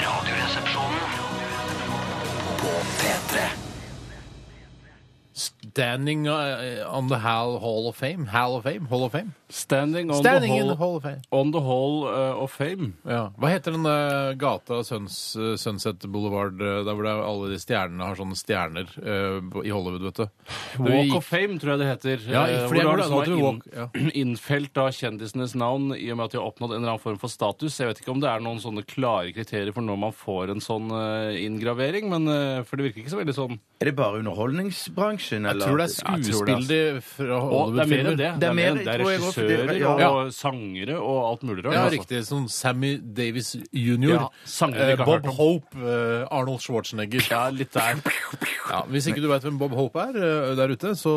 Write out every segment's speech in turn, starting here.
Radioresepsjonen. På P3. Standing uh, on the Hall, Hall of Fame. Hall of Fame? Hall of Fame? Standing on Standing the in the hall, Hall of Fame. on the hall eh, of fame. Ja. Hva heter den eh, gata Suns, eh, Sunset Boulevard eh, der hvor det er alle de stjernene har sånne stjerner eh, i Hollywood, vet du? Walk of fame, tror jeg det heter. Ja, Eh, for det hvor er du hvor har det liksom er en at inn- Innfelt av kjendisenes navn i og med at de har oppnådd en eller annen form for status. Jeg vet ikke om det er noen sånne klare kriterier for når man får en sånn eh, inngravering, men eh, for det virker ikke så veldig sånn. Er det bare underholdningsbransjen, Jeg eller? tror det er Jeg tror det, altså. skuespillere fra Og det er mer enn Hollywood-filmer. det. Det er mer, enn det. det er tror jeg også, det- regissører ja. og sangere og alt mulig rart. Ja, altså. riktig. Sånn Sammy Davis jr. Ja, sanger vi eh, ikke har Bob hørt om. Hope, eh, Arnold Schwarzenegger. Ja, litt der. Ja, hvis ikke du veit hvem Bob Hope er eh, der ute, så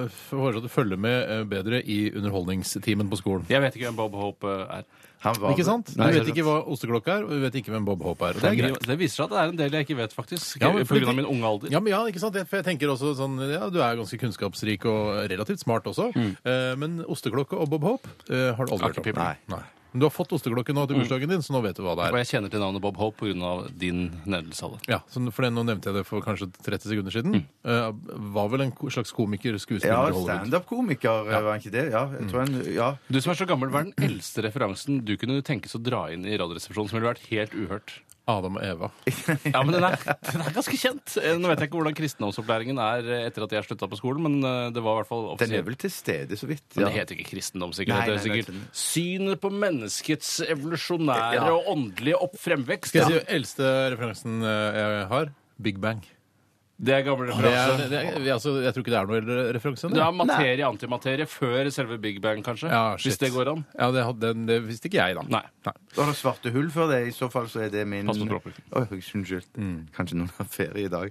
eh, foreslår jeg at du følger med eh, bedre i underholdningstimen på skolen. Jeg vet ikke hvem Bob Hope eh, er. Han var- Ikke sant? Du Nei, vet ikke hva osteklokka er, og du vet ikke hvem Bob Hope er. Og det er greit. Det viser seg at det er en del jeg ikke vet, faktisk. eh, Ja, men på grunn fordi- av min unge alder. Ja, men ja, ikke sant? Jeg- For jeg tenker også sånn, ja, Du er ganske kunnskapsrik og relativt smart også. Mm. Eh, men osteklokke og Bob Hope eh, har du aldri hørt Akepipen. om. Nei. Men du har fått osteklokke nå til Mm. bursdagen din, så nå vet du hva det Og er. jeg kjenner til navnet Bob Hope pga. din nedelse av det. Ja, så for det, Nå nevnte jeg det for kanskje 30 sekunder Mm. siden. Eh, var vel en ko- slags komiker, skuespiller Ja, i Hollywood. standup-komiker, var han ikke det? Ja, jeg Mm. tror han, ja. Du som er så gammel, hva er den eldste referansen du kunne tenkes å dra inn i Radioresepsjonen som ville vært helt uhørt? Adam og Eva. Ja, men den er, den er ganske kjent. Eh, Nå vet jeg ikke hvordan kristendomsopplæringen er eh, etter at jeg slutta på skolen, men eh, det var i hvert fall Den er offisielt. vel til stede, så vidt. Men Ja. det heter ikke kristendom, sikkert. Nei, det nei, nei, heter sikkert Synet på menneskets evolusjonære Ja. og åndelige opp- fremvekst. Skal jeg si Ja. den eldste referansen eh, jeg har? Big Bang. Det er gammel Det er, referanse. det er, vi- altså, jeg tror ikke det er noe eldre referanse enn Det er materie antimaterie før selve Big Bang, kanskje. Ja, shit. hvis det går an. Ja, det, hadde- den- det visste ikke jeg, da. Nei. Da er det svarte hull før det. I så fall så er det min Pass på språket. Oi, Unnskyld. Kanskje noen har ferie i dag.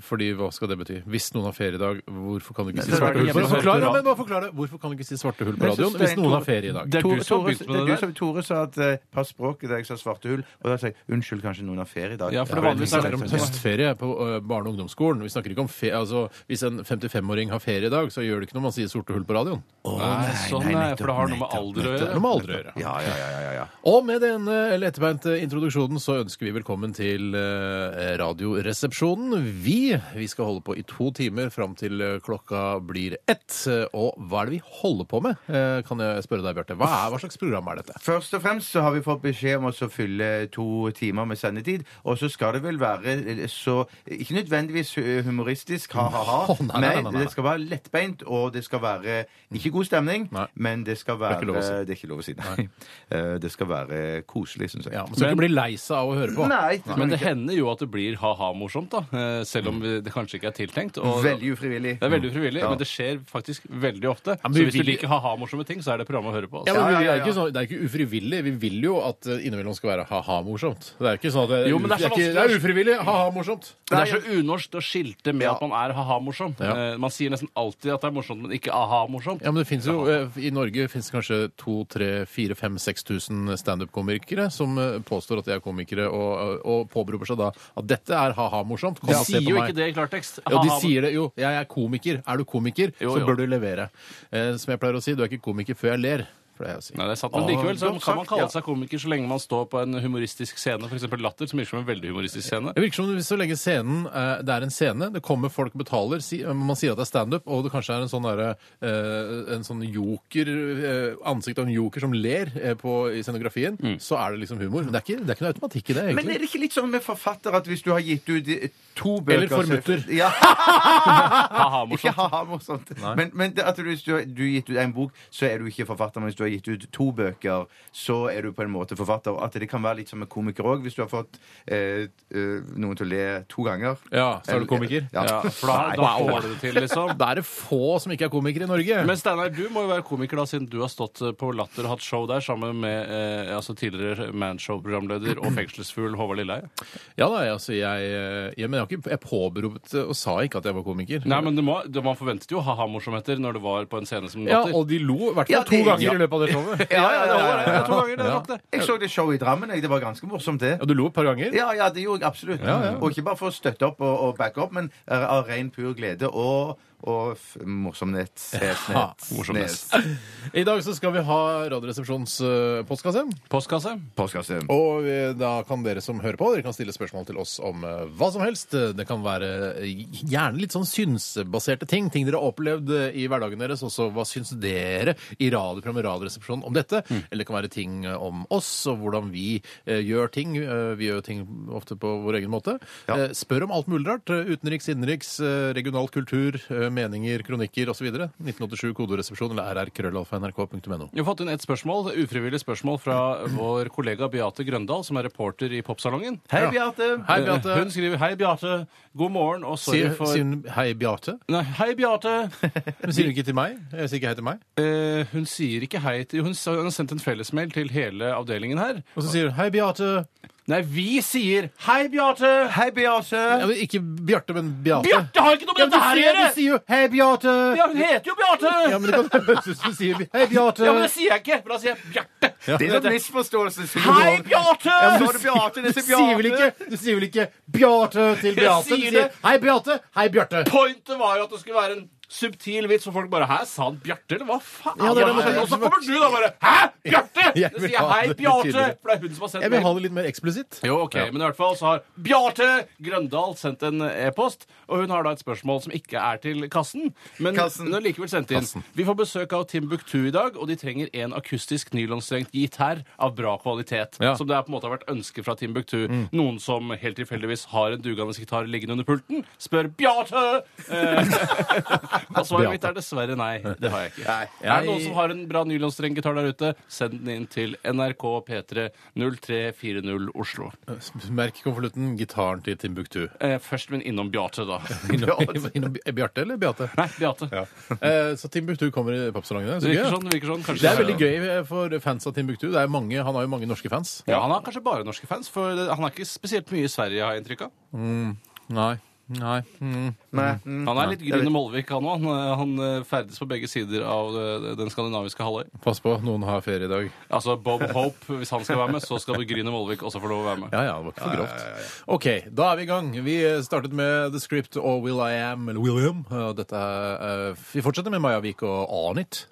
Fordi, hva skal det bety? Hvis noen har ferie i dag, hvorfor kan du ikke si så er svarte det hull på hjemme- radioen? Ja, men bare forklar det. Hvorfor kan du ikke si svarte hull på Jeg synes radioen det er hvis noen en- har ferie i dag? Det er Tore, du som har Tore, begynt med det det er du der. som, Tore sa at eh, pass språket da jeg sa svarte hull. Og da sa jeg unnskyld, kanskje noen har ferie i dag. Ja, for det Vi vanligvis snakker om liksom høstferie på ø, barne- og ungdomsskolen. Vi snakker ikke om fe altså, Hvis en 55-åring har ferie i dag, så gjør det ikke noe om man sier sorte hull på radioen. Nei, sånn nei, er, for det har noe med nettopp, alder å Det gjøre. må aldri gjøre. Ja, ja, ja, ja, ja, ja. Og med denne lettbeinte introduksjonen så ønsker vi velkommen til eh, Radioresepsjonen. Vi, vi skal holde på i to timer fram til eh, klokka blir ett. Eh, Og hva er det vi holder på med, Eh, kan jeg spørre deg, Bjarte. Hva, er- hva slags program er dette? Først og fremst så har vi fått beskjed om å så fylle to timer med sendetid. Og så skal det vel være eh, så Ikke nødvendigvis hu- humoristisk, ha-ha-ha. Å, nei, nei, nei, nei, nei. det skal være lettbeint, og det skal være ikke god stemning, Nei. men det skal være ikke lov å si. Det er ikke lov å si, nei. Eh, Det skal være koselig, syns jeg. Ja, man skal ikke bli lei seg av å høre på. Nei, det Men kan det ikke. hender jo at det blir ha-ha-morsomt, da. eh, Selv om vi- det kanskje ikke er tiltenkt. og- Veldig ufrivillig. det er veldig frivillig, men det skjer faktisk veldig ofte. men så vi hvis du vil- liker ha-ha-morsomme ting, så er det programmet å høre på. Ja, Altså. men Ja, vi- ja, Det, ja, er ja. ikke sånn, det er ikke ufrivillig. Vi vil jo at eh, innimellom skal være ha-ha-morsomt. Det er ikke sånn at det er, Jo, men det er så uf- ikke, det vanskelig. er ufrivillig ha-ha-morsomt. Det er så unorsk å skilte med Ja. at man er ha-ha-morsom. Ja. Eh, Man sier nesten alltid at det er morsomt, men ikke aha-morsomt. Ja, men det finnes jo, eh, I Norge fins det kanskje 2-3-4-5-6000 standup-komikere som eh, påstår at de er komikere, og, og påberoper seg da at dette er ha-ha-morsomt. De sier jo ikke det i klartekst. Jo, de Ha-ha- sier det jo. Jeg er komiker. Er du komiker, Jo, så jo. bør du levere. Eh, som jeg pleier å si, du er ikke komiker før jeg ler. pleier jeg å si. Nei, det er sant, men likevel så godt kan man sagt, kalle ja. seg komiker så lenge man står på en humoristisk scene. For eksempel Latter, som virker som en veldig humoristisk scene. Det virker som hvis så lenge scenen eh, Det er en scene, det kommer folk og betaler, si, man sier at det er standup, og det kanskje er en sånn derre eh, En sånn joker eh, Ansikt av en joker som ler eh, på, i scenografien, så er det liksom humor. Men det er ikke, det er ikke noe automatikk i det, Men er egentlig. det ikke litt sånn med forfatter at hvis du har gitt ut eh, to bøker Eller for så- mutter. Ja, ikke Ha-ha-morsomt. ha-ha morsomt. Men, men det at du, hvis du, har- du har gitt ut en bok, så er du ikke forfatter. Men hvis du har gitt ut to bøker, så er du på en måte forfatter. At det kan være litt som med komiker òg. Hvis du har fått eh, eh, noen til å le to ganger. Eh, Ja, så er du komiker. Ja. Ja, for da, da får du det til, liksom. Da er det få som ikke er komikere i Norge. Men Steinar, du må jo være komiker, da, siden du har stått eh, på Latter og hatt show der sammen med eh, altså tidligere Manshow-programleder og fengselsfugl Håvard Lilleheie. ja da, altså jeg, eh, ja, men jeg, har ikke, jeg påberopte og sa ikke at jeg var komiker. Nei, men det må, det, man forventet jo ha-ha-morsomheter når det var på en scene som ja, Latter. og de lo i hvert fall Ja, to det- ganger ja. i løpet av på det showet? Ja, ja, ja, ja, ja. Ja, to ganger, det er Ja. nok det. Jeg så det showet i Drammen. Jeg. Det var ganske morsomt, det. Ja, du lo et par ganger? Ja, ja, det gjorde jeg absolutt. Ja, ja. Og ikke bare for å støtte opp og, og backe opp, men eh, av ren, pur glede og, og f morsomhet. Ja, morsomhet. I dag så skal vi ha Radioresepsjons eh, postkasse. Postkasse. Postkasse. Og eh, da kan dere som hører på, dere kan stille spørsmål til oss om eh, hva som helst. Det kan være eh, gjerne litt sånn synsbaserte ting. Ting dere har opplevd eh, i hverdagen deres. Også hva syns dere i radioprogrammet Radioresepsjonen om dette? Eller det kan være ting eh, om oss og hvordan vi eh, gjør ting. Eh, vi gjør jo ting ofte på vår egen måte. Ja. Eh, spør om alt mulig rart. Eh, Utenriks, innenriks, eh, regional kultur, eh, meninger, kronikker osv. 1987 kodoresepsjon eller rrkrøllalfa.nrk.no. Vi har fått inn et spørsmål, et ufrivillig spørsmål fra vår kollega Beate Grøndal, som er reporter i Popsalongen. Eh, Hei, Bjarte. Hei, Beate. Hun skriver 'Hei, Beate. God morgen, og sorry Sier for sier hun hei, Beate? Nei, hei, Beate. Men sier hun ikke til meg? Jeg sier ikke hei til meg. Eh, hun sier ikke hei til Hun, sa- hun har sendt en fellesmail til hele avdelingen her. Og så sier hun hei, Beate. Nei, vi sier 'Hei, Beate'! Hei, Bjarte. Ja, men ikke Bjarte, men Beate. Bjarte har ikke noe Ja, med men du dette her å sier, gjøre! du sier jo hei, Beate. Ja, hun heter jo Beate! Ja, men det kan høres ut som du sier hei, Beate. Ja, men det sier jeg ikke, for da sier jeg Bjarte. Det er en misforståelse. Hei, Bjarte! Ja, men så er det Bjarte, Du dette er sier vel Bjarte. ikke, du sier vel ikke Bjarte til Beate? Du sier sier det. hei, Beate. Hei, Bjarte. Pointet var jo at det skulle være en subtil vits, for folk bare 'Hæ, sa han Bjarte', eller hva faen? Ja, det er det man Nei, tenker. Og så kommer du da bare 'Hæ, Bjarte?' Jeg Så vil sier jeg ha 'Hei, det litt Bjarte', tydeligere. for det er hun som har sendt Jeg vil mail. ha det litt mer eksplisitt. Jo, ok, men i hvert fall så har Bjarte Grøndal sendt en e-post, og hun har da et spørsmål som ikke er til kassen, men Kassen. hun har likevel sendt inn. Kassen. Vi får besøk av Timbuktu i dag, og de trenger en akustisk nylonstrengt gitar av bra kvalitet, Ja. som det er på en måte har vært ønske fra Timbuktu. Noen som helt tilfeldigvis har en dugende gitar liggende under pulten, spør Bjarte! Eh, og svaret mitt er dessverre nei, det har jeg ikke. Nei. Er det noen som har en bra nylonstrenggitar der ute, send den inn til NRK P3 0340 Oslo. Merk konvolutten gitaren til Timbuktu. Eh, først, men innom Bjarte, da. Innom- innom Bjarte eller Beate? Nei, Bjarte. Eh, Så Timbuktu kommer i popsalongene. Så Det virker gøy. da. sånn. det virker sånn. Kanskje Det er veldig gøy for fans av Timbuktu. Det er mange, han har jo mange norske fans. Ja, Han har kanskje bare norske fans, for det- han er ikke spesielt mye i Sverige, har jeg inntrykk av. Nei. Nei. Mm. Nei. mm. Han er litt Jeg Grüne Molvik, han òg. Han eh, ferdes på begge sider av eh, den skandinaviske halvøy. Pass på, noen har ferie i dag. Altså Bob Hope, hvis han skal være med, så skal Grüne Molvik også få lov å være med. Ja, ja, det var ikke for grovt. OK, da er vi i gang. Vi startet med The Script og Will I Am, eller William. og Dette er, eh, vi fortsetter med Maja Vik og Arnit.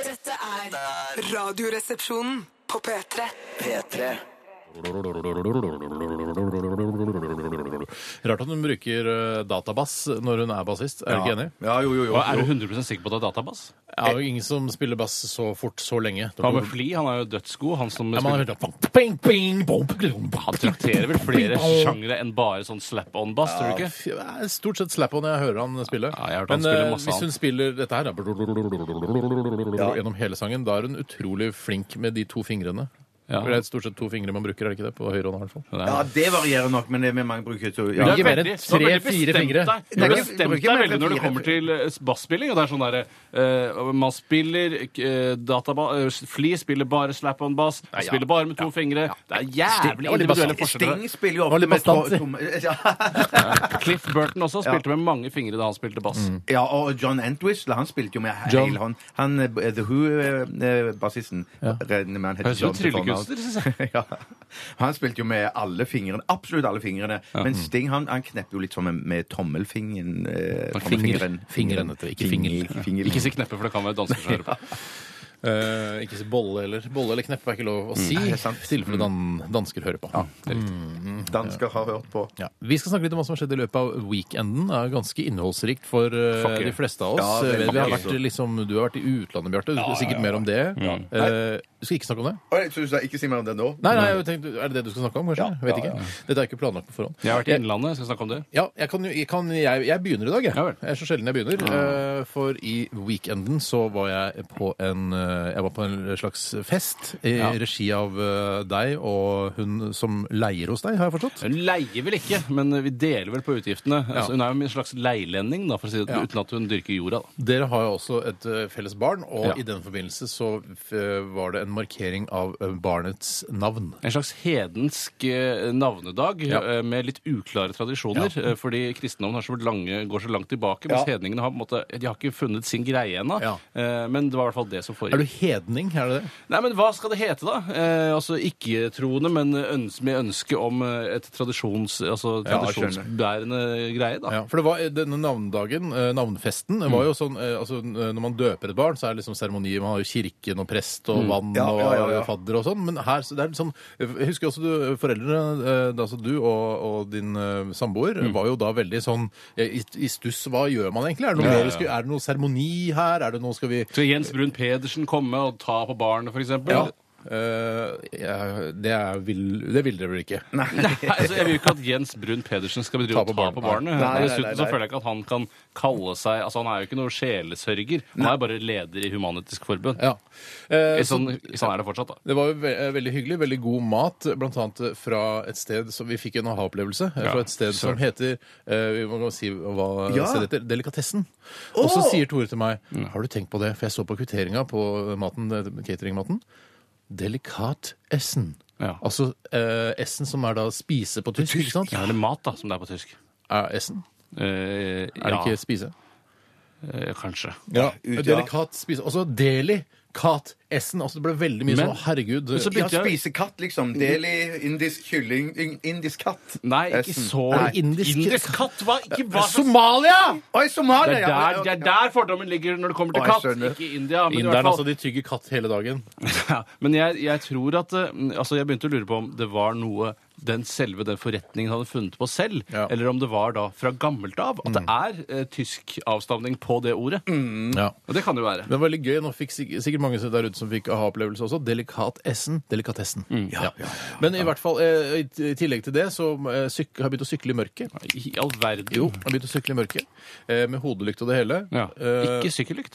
Dette er Radioresepsjonen på P3. P3. Rart at hun bruker eh, databass når hun er bassist. Er du ikke enig? Ja, jo, jo, jo. Og er du 100 sikker på at det er databass? Det er jo ingen som spiller bass så fort så lenge. Hva med Fli? Han er jo dødsgod. Han som Ja, man har hørt da- Ping, ping, bom, bom, bom. trakterer vel flere sjangre enn bare sånn slap-on-bass, tror du ikke? Fy, det er Stort sett slap on jeg hører han spille. Ja, jeg har hørt han Men spille eh, masse hvis hun annet. spiller dette her da, gjennom hele sangen, da er hun utrolig flink med de to fingrene. Ja. For Det er stort sett to fingre man bruker, er det ikke det? På høyrehånda i hvert fall. Ja, det varierer nok, men det med mange bruker så ja. Det er ikke mer enn veldig- du har tre, veldig fire bestemt fingre. deg. Du Nei, har ikke- bestemt bruker deg mer enn veldig når det fire. kommer til eh, basspilling. Og det er sånn derre eh, Man spiller eh, databa... eh, Fli spiller bare slap-on-bass. Spiller bare med to fingre. Det er jævlig litt bastant. individuelle forskjeller. Sting spiller jo var ofte litt med bastant. to- tomme ja. Cliff Burton også spilte med mange fingre da han spilte bass. ja, og John Entwistle, han spilte jo med John. hele hånd. Han eh, The eh, Who-bassisten Høres ut som tryllekunstner, synes jeg. ja. Han spilte jo med alle fingrene, absolutt alle fingrene. Mm. Men Sting han, han knepper jo litt sånn med, med tommelfingeren. eh, Og tommelfingeren. finger. Fingeren heter det, ikke Fingel- fingel. fingel. Ikke si kneppe, for det kan være danskeskjører på. Eh, ikke si bolle heller. Bolle eller kneppe er ikke lov å si. det er sant. I tilfelle dan dansker hører på. Dansker har hørt på. Ja. Vi skal snakke litt om hva som har skjedd i løpet av weekenden. Det er ganske innholdsrikt for eh, Fuck yeah. de fleste av oss. Ja, det er vi har fuck vært, yeah. liksom, du har vært i utlandet, Bjarte. Du skal sikkert mer om det. Eh, du skal ikke snakke om det? Oi, så du sa ikke si mer om det nå? Nei, nei, jeg tenkte, Er det det du skal snakke om, kanskje? Vet ikke. Dette er ikke planlagt på forhånd. Jeg har vært i Innlandet. Skal vi snakke om det? Ja, jeg, kan, jo- jeg, kan, jeg, jeg begynner i dag, jeg. Ja vel. Jeg er så sjelden jeg begynner. eh, For i weekenden så var jeg på en, eh, jeg var på en slags fest i Ja. regi av eh, deg og hun som leier hos deg, har jeg forstått? Hun leier vel ikke, men vi deler vel på utgiftene. Altså, hun er jo en slags leilending, da, for å si det, Ja. uten at hun dyrker jorda. Da. Dere har jo også et eh, felles barn, og Ja. i den forbindelse så eh, var det en en markering av eh, barnets navn. En slags hedensk eh, navnedag Ja. eh, med litt uklare tradisjoner. eh, Fordi kristendommen har så vært lange, går så langt tilbake, mens hedningene har, på en måte, de har ikke funnet sin greie ennå. Ja. Eh, Men det var i hvert fall det som foregikk. Er du hedning? Er det det? Nei, men Hva skal det hete, da? Eh, altså Ikke-troende, men øns med ønske om eh, et tradisjons, altså, Ja, jeg tradisjonsbærende greie. da. Ja, for det var eh, denne navnedagen, eh, navnfesten, var jo sånn eh, altså, eh, Når man døper et barn, så er det liksom seremoni Man har jo kirken og prest og vann Ja, og ja, ja, ja. fadder og sånn. Men her så det er litt sånn Jeg husker også du, foreldrene, eh, altså du og, og din eh, samboer, var jo da veldig sånn eh, i, i stuss. Hva gjør man egentlig? Er det noe, Ja, ja, mer vi skal- er det noe seremoni her? Er det noe skal vi Skal Jens Brun Pedersen komme og ta på barnet, f.eks.? Ja. Eh, ja, det, er, vil, det vil dere vel ikke? Nei, altså, jeg vil jo ikke at Jens Brun Pedersen skal bedrive Ta og på ta barn. på barnet. Nei, Og nei, Dessuten nei, så nei. føler jeg ikke at han kan kalle seg altså Han er jo ikke noe sjelesørger. Han er bare leder i Human-Etisk Forbund. Ja. Eh, I Sånn, i sånn er det fortsatt, da. Det var jo ve eh, veldig hyggelig. Veldig god mat, blant annet eh, fra et sted som Vi fikk en aha-opplevelse eh, fra et sted som heter eh, Vi må godt si hva Ja. stedet heter. Delikatessen. Og så sier Tore til meg Mm. Har du tenkt på det? For jeg så på kvitteringa på maten, eh, cateringmaten. Delikatessen. Ja. Altså eh, essen som er da spise på tysk, ikke sant? Ja, eller mat, da, som det er på tysk. Er essen? Er Eh, det ja, ikke spise? eh, kanskje. Ja. ut, ja. Delikat spise. Også delikatessen. Altså det ble veldig mye Men- sånn herregud. så Ja, begynte jeg- spise katt, liksom. Deli, indisk kylling, in- indisk katt. Nei, ikke Essen. så Nei, indisk- katt var ikke hva som Somalia! Oi, Somalia! Det er, ja, der, ja, det er der fordommen ligger når det kommer til Å, jeg katt. skjønner. Ikke India. Men, i hvert Inderen, fall, altså. De tygger katt hele dagen. ja, men jeg, jeg tror at eh, altså Jeg begynte å lure på om det var noe den selve den forretningen hadde funnet på selv, Ja. Mm. eller om det var da fra gammelt av. At det er eh, tysk avstamning på det ordet. Ja. Og det kan det jo være. Det var veldig gøy. Nå fikk sik- sikkert mange der ute som fikk aha-opplevelse også. Delikatessen. Delikatessen. Mm. Ja. Men i hvert fall, eh, i t- i tillegg til det, så eh, syk, har jeg begynt å sykle i mørket. I all verden. Jo, jeg har begynt å sykle i mørket. Eh, med hodelykt og det hele. Ja. Eh, Ikke sykkellykt.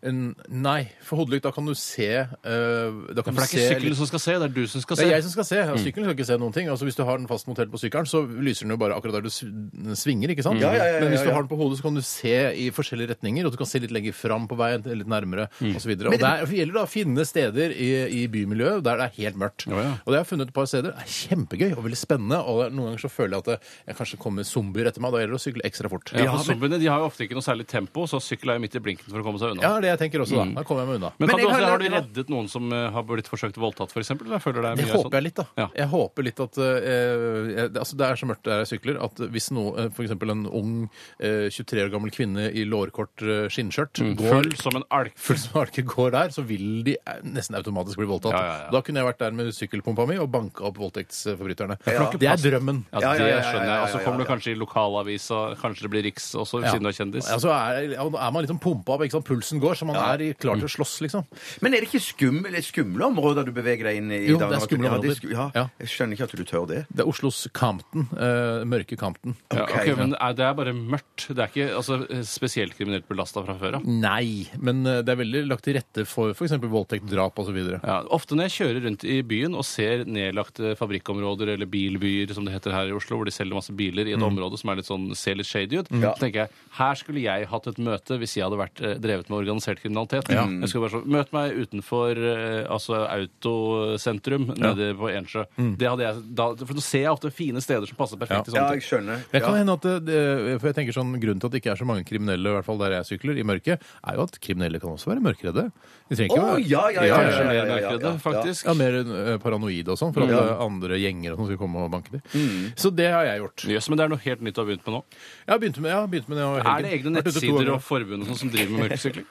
en- Nei, for hodelykt, da kan du se eh, Da kan For det du er ikke se sykkelen litt- som skal se, det er du som skal det se. er jeg som skal se. og Sykkelen skal ikke se noen ting. Altså Hvis du har den fast montert på sykkelen, så lyser den jo bare akkurat der du sv- svinger. ikke sant? Ja, ja, ja, ja, Men hvis du ja. har den på hodet, så kan du se i forskjellige retninger, og du kan se litt lenger fram på veien, litt nærmere og osv. Og det er- gjelder da å finne steder i, i bymiljøet der det er helt mørkt. Ja, ja. Og det har jeg funnet et par steder. Det er kjempegøy og veldig spennende. Og det er- noen ganger så føler jeg at det, jeg kanskje kommer zombier etter meg. Da gjelder det å sykle ekstra fort. Ja, for Zombiene de har jo ofte ikke noe særlig tempo, så sykkel er jo midt i blinken for å komme seg unna. Ja, det er det jeg tenker også, da. Da kommer jeg meg unna. Men, Men kan du jeg også, har- har du reddet noen som eh, har blitt forsøkt voldtatt, f.eks.? Jeg føler det er Det mye håper jeg litt, da. Ja. Jeg håper litt at eh, jeg, altså Det er så mørkt der jeg sykler, at hvis noe, eh, for eksempel en ung eh, 23 år gammel kvinne i lårkort eh, skinnskjørt går Full som en alk. full som arke går der, så vil de eh, nesten automatisk bli voldtatt. Ja, ja, ja. Da kunne jeg vært der med sykkelpumpa mi og banka opp voldtektsforbryterne. Ja. Det er drømmen. Ja, Ja, ja, ja, det skjønner ja, ja, jeg. ja, Og så kommer du kanskje i lokalavisa, kanskje det blir Riks også, Ja. siden du er kjendis. Ja, altså, så er, ja, da er man liksom pumpa opp, ikke sant? pulsen går, så man er i- klar til Mm. å slåss, liksom. Men er det ikke skumle, skumle områder du beveger deg inn i? Jo, da? det er skumle Ja, områder. sku- Ja, Ja. Jeg skjønner ikke at du tør det. Det er Oslos Campton. eh, mørke Campton. Ja, Ok, ok, ja. men er- Det er bare mørkt. Det er ikke altså, spesielt kriminelt belasta fra før av. Nei, men eh, det er veldig lagt til rette for f.eks. voldtekt, drap osv. Ja, ofte når jeg kjører rundt i byen og ser nedlagte fabrikkområder eller bilbyer, som det heter her i Oslo, hvor de selger masse biler i et område som er litt sånn, ser litt shady ut, så tenker jeg her skulle jeg hatt et møte hvis jeg hadde vært eh, drevet med organisert kriminalitet. Jeg skulle bare så, Møt meg utenfor eh, altså, Autosentrum nede på Ensjø. Det hadde jeg, da, for da ser jeg ofte fine steder som passer perfekt i Ja, sånne jeg ting. skjønner. Men Det kan Ja. hende at det, det, for jeg tenker sånn, Grunnen til at det ikke er så mange kriminelle i hvert fall der jeg sykler, i mørket, er jo at kriminelle kan også være mørkredde. De trenger ikke Å, være ja, ja, ja, Ja, ja, ja, ja, Kanskje ja, mer ja, ja, mørkredd, faktisk. Ja, Mer eh, paranoide og sånn, for at det er andre gjenger som skal komme og banke dem. Mm. Så det har jeg gjort. Jøss, men det er noe helt nytt du har begynt med nå. Jeg har begynt med, jeg har begynt med det. over Er helgen. det egne Vært ute to nettsider ganger. og forbund og sånn som driver med mørkesykling?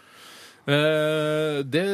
Eh, det,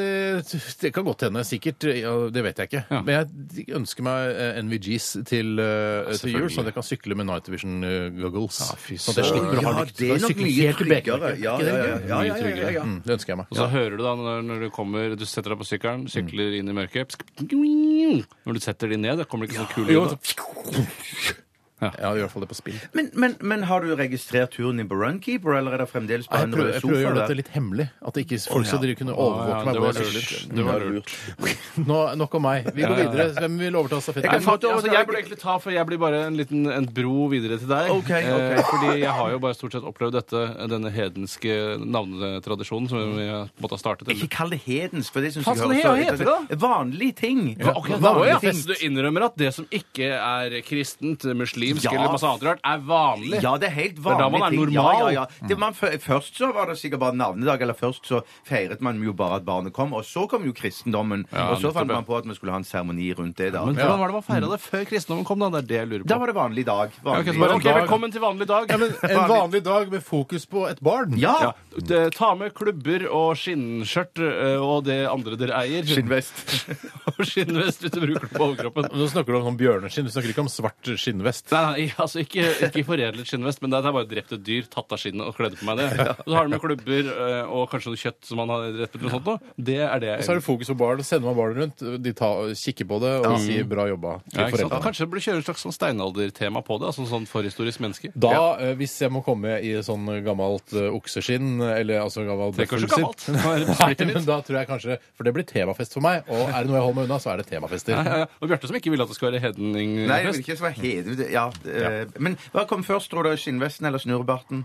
det kan godt hende. Sikkert. Ja, det vet jeg ikke. Ja. Men jeg ønsker meg eh, NVGs til, eh, til jul, selvfølgelig. sånn at jeg kan sykle med Night Vision eh, goggles. Ja, fy sånn at jeg slipper å ha Ja, lykt. det Da er nok sykler mye helt til Bekmarka. tryggere. Ja, Ikke det ja, ja, gøy? ja, ja, ja, ja, ja. Mm, det ønsker jeg meg. Og så hører du da når, når du kommer, du setter deg på sykkelen, sykler inn i mørket psk, Når du setter de ned, da kommer det ikke sånn kule Jo, lyd. da. så- Jeg har i hvert fall det på spill. Men, men, men har du registrert turen i Barunkeeper, eller er det fremdeles bare Jeg en prøver, rød jeg prøver å gjøre sofa dette der? litt hemmelig. At ikke folk skal drive kunne Ja, overvåke meg. det hvor var jeg lurt. sykler. Det var lurt. Nå, nok om meg. Vi går videre. Hvem vil overta stafetten? Nei, men, altså, jeg burde egentlig ta, for jeg blir bare en liten en bro videre til deg. Ok, ok. Eh, fordi jeg har jo bare stort sett opplevd dette, denne hedenske navnetradisjonen som vi måtte ha startet. Ikke kall det hedensk, for det syns Faen, jeg skal det he- høres hva heter det Vanlige ting. Ja, ok, da var vanlige jeg fest. Du innrømmer at det som ikke er kristent, muslimsk Ja. eller masse annet rart, er vanlig. Ja, det er er helt da vanlige man er ting. normal. Mm. Ja, ja, ja. Det, man, fø- først så var det sikkert bare navnedag, eller først så feiret man jo bare at barnet kom, og så kom jo kristendommen, Ja, og nettopp, så fant ja. man på at vi skulle ha en seremoni rundt det da. Men hvordan var det man feira det før kristendommen kom? Da Det er det jeg lurer på. Da var det vanlig dag. Ja, Vanlig. ok, så bare, ok, dag. velkommen til vanlig dag. Ja, men, En vanlig dag med fokus på et barn. ja. ja, d- ta med klubber og skinnskjørt eh, og det andre dere eier. Skinnvest. og skinnvest hvis du bruker det på overkroppen. Nå snakker du om sånn bjørneskinn. Du snakker ikke om svart skinnvest. Nei, nei, altså ikke, ikke foredlet skinnvest, men det er bare drept et dyr, tatt av skinnet og kledd på meg det. Og så har du med klubber eh, og kanskje noe kjøtt som man har drept eller noe sånt noe. Det er det Så har jeg du fokus på barn, og sender man barnet rundt. De tar, kikker på det og sier 'bra jobba' til ja, ikke sant? foreldrene. Kanskje det burde kjøre et slags sånn steinaldertema på det? Altså sånn forhistorisk menneske? Da, eh, hvis jeg må komme i sånn gammelt eh, okseskinn, eller altså gammelt Det er kanskje bøffelskinn- gammelt. Nå er det splitter Nei, nytt. men da tror jeg kanskje For det blir temafest for meg, og er det noe jeg holder meg unna, så er det temafester. Ja, ja. Og Bjarte som ikke ville at det skal være hedningfest. Nei, jeg vil ikke være heden. Ja, eh, Men hva kom først, tror du? Skinnvesten eller snurrebarten?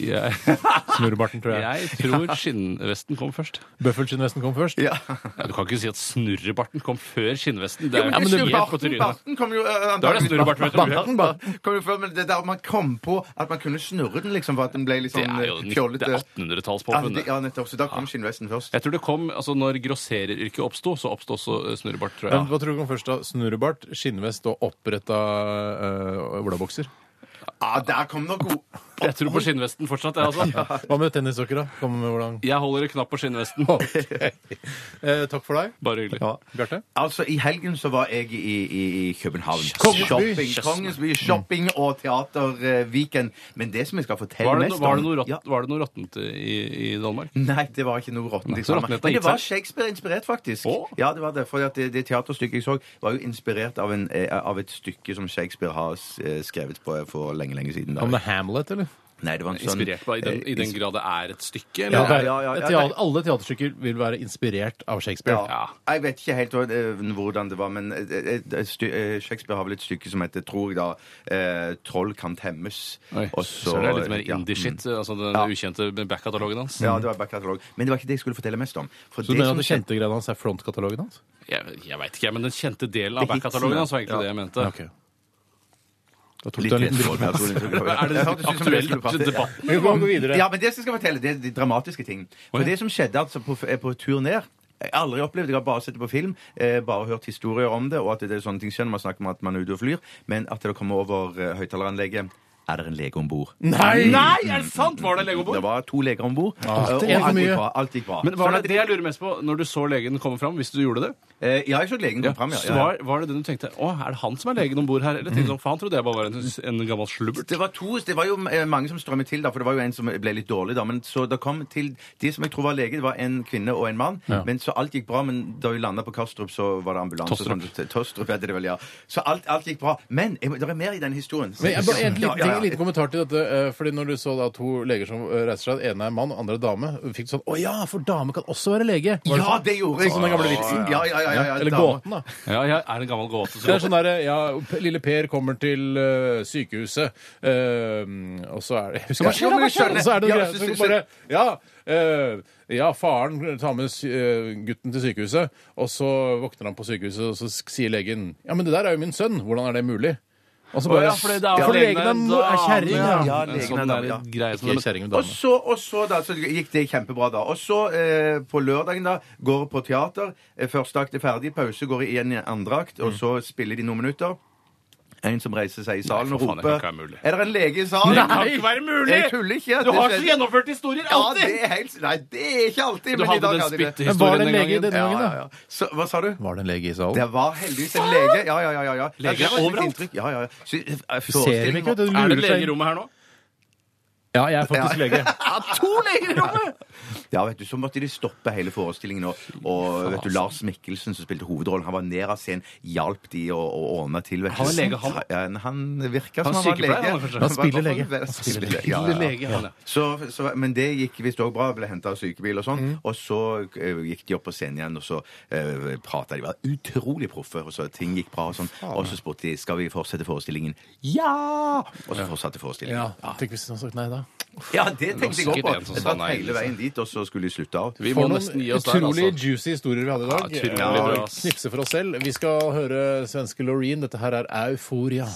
Jeg, Snurrebarten, tror jeg. jeg tror skinnvesten kom først. Bøffelskinnvesten kom først. Ja. Ja, du kan ikke si at snurrebarten kom før skinnvesten. Det Jo, er men helt på snurrebarten trynet. barten kom jo eh, Da er det antageligvis- snurrebart. vet du. Barten, Barten kom jo før, men det der man kom på at man kunne snurre den, liksom, for at den ble litt Det sånn er jo eh, nitt- det er fjollete. 1800-tallspåfunnet. Ja, nettopp. Så da kom skinnvesten først. Jeg tror det kom, altså Når grossereryrket oppsto, så oppsto også eh, snurrebart, tror Men jeg. hva tror du kom først, da? Snurrebart, skinnvest og oppretta uh, olabokser? Ja, der kom nok god Jeg tror på skinnvesten fortsatt, jeg, altså. Hva med tennissokker, da? Kom med hvordan Jeg holder en knapp på skinnvesten. Eh, Takk for deg. Bare hyggelig. Ja. Bjarte? Altså, I helgen så var jeg i, i, i København. Kongens by. Shopping, Kongens Mm. by, shopping og teaterviken. Men det som jeg skal fortelle Var det, mest no- om var det noe rått- Ja. var det noe råttent i, i Danmark? Nei, det var ikke noe råttent. så liksom. råttent har Men det gitt var seg. Shakespeare-inspirert, faktisk. Å? Ja, Det var det, fordi at det, det teaterstykket jeg så, var jo inspirert av, en, eh, av et stykke som Shakespeare har eh, skrevet på for lenge, lenge siden. Da. Kom med Hamlet, eller? Nei, det var en sånn... Inspirert på, i den, i eh, den grad det er et stykke? Ja, Eller? ja, ja, ja, Et ja. teater, alle teaterstykker vil være inspirert av Shakespeare. Ja. Jeg vet ikke helt eh, hvordan det var, men eh, eh, sty- eh, Shakespeare har vel et stykke som heter, tror jeg da, eh, 'Troll kan temmes'. Oi, Og så, det er litt mer ja. indie-shit. Altså den ukjente back-katalogen hans. Ja, det var backkatalog. Men det var ikke det jeg skulle fortelle mest om. For Så du mener at den skjedde- kjente greia hans er frontkatalogen hans? Jeg, jeg veit ikke, jeg, men den kjente delen av Det er back-katalogen hitsen, hans var egentlig ja. det jeg mente. Ok. Da tok Litt du en liten drikk. lettvått, jeg tror det skulle- Er det Det hørtes ut som jeg skulle prate- aktuelt debatt? Vi må gå videre. Ja, men det som jeg skal fortelle, det er de dramatiske ting. Å, For ja. det som skjedde altså på, eh, på tur ned jeg har aldri opplevd, jeg har bare sett det på film, eh, bare hørt historier om det, og at det er sånne ting skjer når man snakker om at man er ute og flyr, men at det kommer over eh, høyttaleranlegget Er det en lege om bord? Nei! Nei, er det sant? Var det Det legobord? var to leger om bord. Ah. Alt er og for alt mye. gikk bra. Alt gikk bra. Men var Sånn det at- det jeg lurer mest på, når du så legen komme fram, hvis du gjorde det? Eh, ja, jeg så legen kom fram, ja. så ja. Var, var det den du tenkte Å, er det han som er legen om bord her? Eller tenkte du sånn, faen, trodde jeg bare var en, en gammel slubbert? Det var, to, det var jo eh, mange som strømmet til, da, for det var jo en som ble litt dårlig. da, men så det kom til, De som jeg tror var lege, det var en kvinne og en mann. men Så alt gikk bra, men da vi landa på Kastrup, så var det ambulanse. og Tostrup. sånn. T- Tostrup heter det vel, ja. Så alt, alt gikk bra. Men jeg, må- det er mer i den historien. Men jeg, bare, en liten, Ja, ja, ja. ting, en liten kommentar til dette. eh, Fordi Når du så da to leger som eh, reiser seg, den ene er mann, den andre er dame, fikk du sånn Å ja, for dame kan også være lege! Var Ja, sånn? det gjorde jeg! Sånn som den gamle vitsen. Ja, ja, ja, ja, ja, Eller dama. gåten, da. Ja, jeg er en gammel gåte. Det er sånn der, ja, P- Lille Per kommer til eh, sykehuset, eh, og så er det Hva skjer da? Hva skjer da? Og så er det noe Ja, greier så- som så- bare Ja, eh, ja faren tar med sy- eh, gutten til sykehuset, og så våkner han på sykehuset, og så sk- sier legen Ja, men det der er jo min sønn. Hvordan er det mulig? Og så bare ja, for det er- Ja, for legen er, legen er mo- er kjerring, ja. dame, Ja, En legen sånn er dame, der ja. greie som- Ikke kjerring, men dame. Og så, og så da, så gikk det kjempebra da. Og så eh, på lørdagen da, går jeg på teater. Eh, Første akt er ferdig, pause går jeg igjen i andre akt, Mm. og så spiller de noen minutter. En som reiser seg i salen for og faen, det kan roper ikke være mulig. Er det en lege i salen? Det kan ikke være mulig! Jeg tuller ikke. Du det har skjedde- så gjennomført historier ja, alltid! det er helt, Nei, det er ikke alltid, Du men i hadde dag den hadde jeg det. Men var det spyttehistorien en den lege gangen. denne Ja, gangen, ja, da? ja. Så, hva sa du? Var det en lege i salen? Det var heldigvis en lege. Ja, ja, ja. ja, ja. Leger Ja, det var et overalt. inntrykk. Ja, ja, ja. Så, eh, Ser dem ikke, vet du. Er det Lurer lege i seg inn. rommet her nå? Ja, jeg er faktisk Ja. lege. Ja, to leger i rommet! Ja, vet du, Så måtte de stoppe hele forestillingen. Og, altså. og vet du, Lars Mikkelsen, som spilte hovedrollen, han var ned av scenen. Hjalp de å, å ordne til vet du. Han er lege, han? Ja, han virka som Han han var sykepleier, lege. han, kanskje? Han spiller lege. Han spiller lege, ja, Lille ja. lege, han, ja. Så, så, men det gikk visst òg bra. Ble henta av sykebil og sånn. Mm. Og så eh, gikk de opp på scenen igjen, og så uh, prata de. Var utrolig proffe. Og så ting gikk bra og sånn. Og så spurte de skal vi fortsette forestillingen. Ja! Og så fortsatte Ja, forestillingen. Tenk hvis han hadde sagt nei da. Ja, det tenkte jeg sikkert òg på. en som Det sa var nei, hele veien dit, og så skulle de slutte av. Vi må For noen nesten gi oss der, utrolig altså. juicy historier vi hadde i dag. Ja, utrolig Eh, bra, ass. Knipse for oss selv. Vi skal høre svenske Loreen. Dette her er Euforia.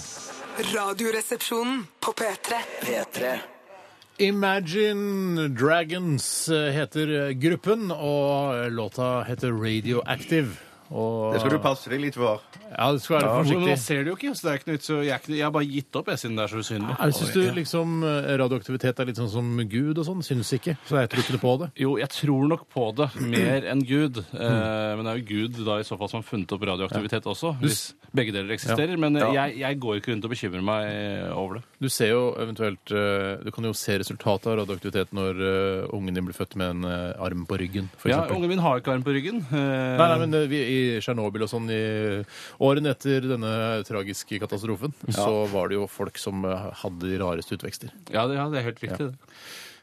Radioresepsjonen på P3. P3. Imagine Dragons eh, heter gruppen, og eh, låta heter Radioactive. Og, Det skal du passe deg litt for. Ja, du skal være Ja, men man forsiktig. ser det jo ikke, så det er ikke noe vits. å- Jeg er ikke- jeg har bare gitt opp, jeg, siden det er så usynlig. Jeg syns du liksom eh, radioaktivitet er litt sånn som Gud og sånn? Syns ikke. Så jeg tror ikke noe på det. Jo, jeg tror nok på det mer enn Gud. Eh, men det er jo Gud da i så fall som har funnet opp radioaktivitet også, hvis begge deler eksisterer. Men eh, jeg, jeg går ikke rundt og bekymrer meg eh, over det. Du ser jo eventuelt eh, Du kan jo se resultatet av radioaktivitet når eh, ungen din blir født med en eh, arm på ryggen, for Ja, eksempel. Ungen min har ikke arm på ryggen. Eh, Nei, nei, men eh, vi, I Tsjernobyl og sånn, i årene etter denne tragiske katastrofen, så var det jo folk som eh, hadde de rareste utvekster. ja, det, ja, det er helt riktig. det.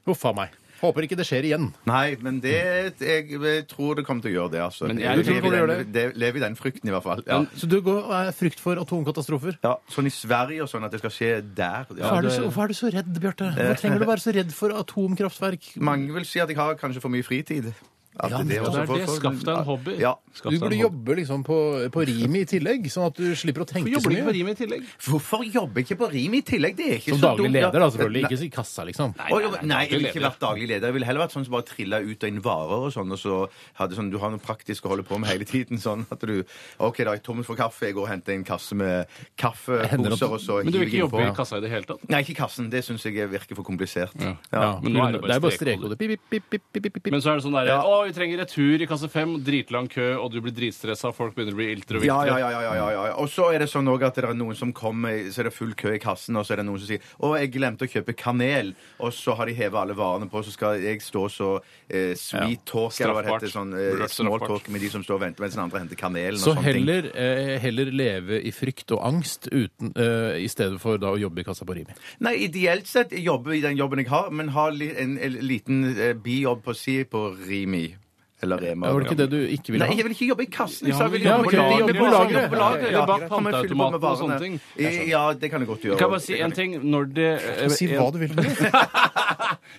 Huff a meg. Håper ikke det skjer igjen. Nei, men det, jeg, tror det kommer til å gjøre det. altså. Men jeg- Jeg Du tror det lever i kommer til å den- det- lever i den frykten, i hvert fall. Ja. Så du går og er frykt for atomkatastrofer? Ja, sånn i Sverige og sånn, at det skal skje der. Hvorfor Ja. er, du så, hvorfor er du så redd, Bjarte? Hvorfor trenger du å være så redd for atomkraftverk? Mange vil si at jeg har kanskje for mye fritid. At Ja, er nettopp. også Det er Altså, for- det. for- Skaff deg en hobby. Ja. Skaff Du deg en burde hobby. jobbe liksom på, på Rimi i tillegg, sånn at du slipper å Hvorfor tenke så jobber du ikke mye. på Rimi i tillegg? Hvorfor jobber jeg ikke på Rim i tillegg? Det er ikke Som så daglig dumt, ja. leder, da, selvfølgelig. Ikke i kassa, liksom. Å, jo, nei, jeg ville daglig ikke leder. vært daglig leder. Jeg ville heller vært sånn som bare trilla ut av en varer og sånn, og så hadde sånn Du har noe praktisk å holde på med hele tiden, sånn at du OK, da er jeg tom for kaffe, jeg går og henter en kasse med Hender at- kaffeposer, og så Men du vil ikke hiver jeg jobbe i innpå. kassa i det hele tatt? Nei, ikke kassen. Det syns jeg virker for komplisert. Ja. Ja, men nå nå er det bare strekkoder. Pip, pip, pip, pip, pip, pip. Men så er det sånn derre Ja. Å, vi trenger retur i kasse fem, dritlang kø, og du blir dritstressa, folk begynner å bli iltre og viltre. Ja, ja, ja, ja, ja, ja, ja. Og så er det sånn også at det er noen som kommer, så er det full kø i kassen, og så er det noen som sier 'Å, jeg glemte å kjøpe kanel', og så har de heva alle varene på, så skal jeg stå så eh, sweet talk, eller hva Straffbart. det heter, sånn Burde eh, vært small straffbart. talk med de som står og venter mens den andre henter kanelen og Så sånne ting. heller, eh, heller leve i frykt og angst uten, eh, i stedet for da å jobbe i kassa på Rimi. Nei, ideelt sett jobbe i den jobben jeg har, men ha li en, en liten eh, bijobb på si på Rimi. Eller Rema. Var det ikke det du ikke ville Nei, jeg ha? vil ikke jobbe i kassen. Jeg sa jeg vil Ja, jobbe ok, på jobbe lageret. på lageret. Jobbe på lageret, Eller bak ja. Kan jeg fylle på med panteautomaten og sånne varene? ting. Ja, det kan jeg godt gjøre. Kan jeg bare si Det en jeg- ting? Når det eh, Si hva du vil.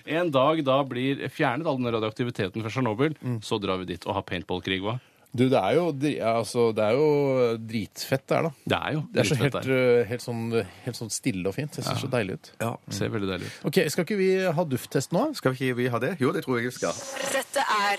En dag da blir fjernet all den radioaktiviteten fra Tsjernobyl, så drar vi dit og har paintballkrig, hva? Du, det er jo, dri- altså, det er jo dritfett det er, da. Det er jo Det er så dritfett helt, der. eh, helt, sånn, helt sånn stille og fint. Det ser så deilig ut. Ser veldig deilig ut. Ok, Skal ikke vi ha dufttest nå? Skal ikke vi ha det? Jo, det tror jeg vi skal. Dette er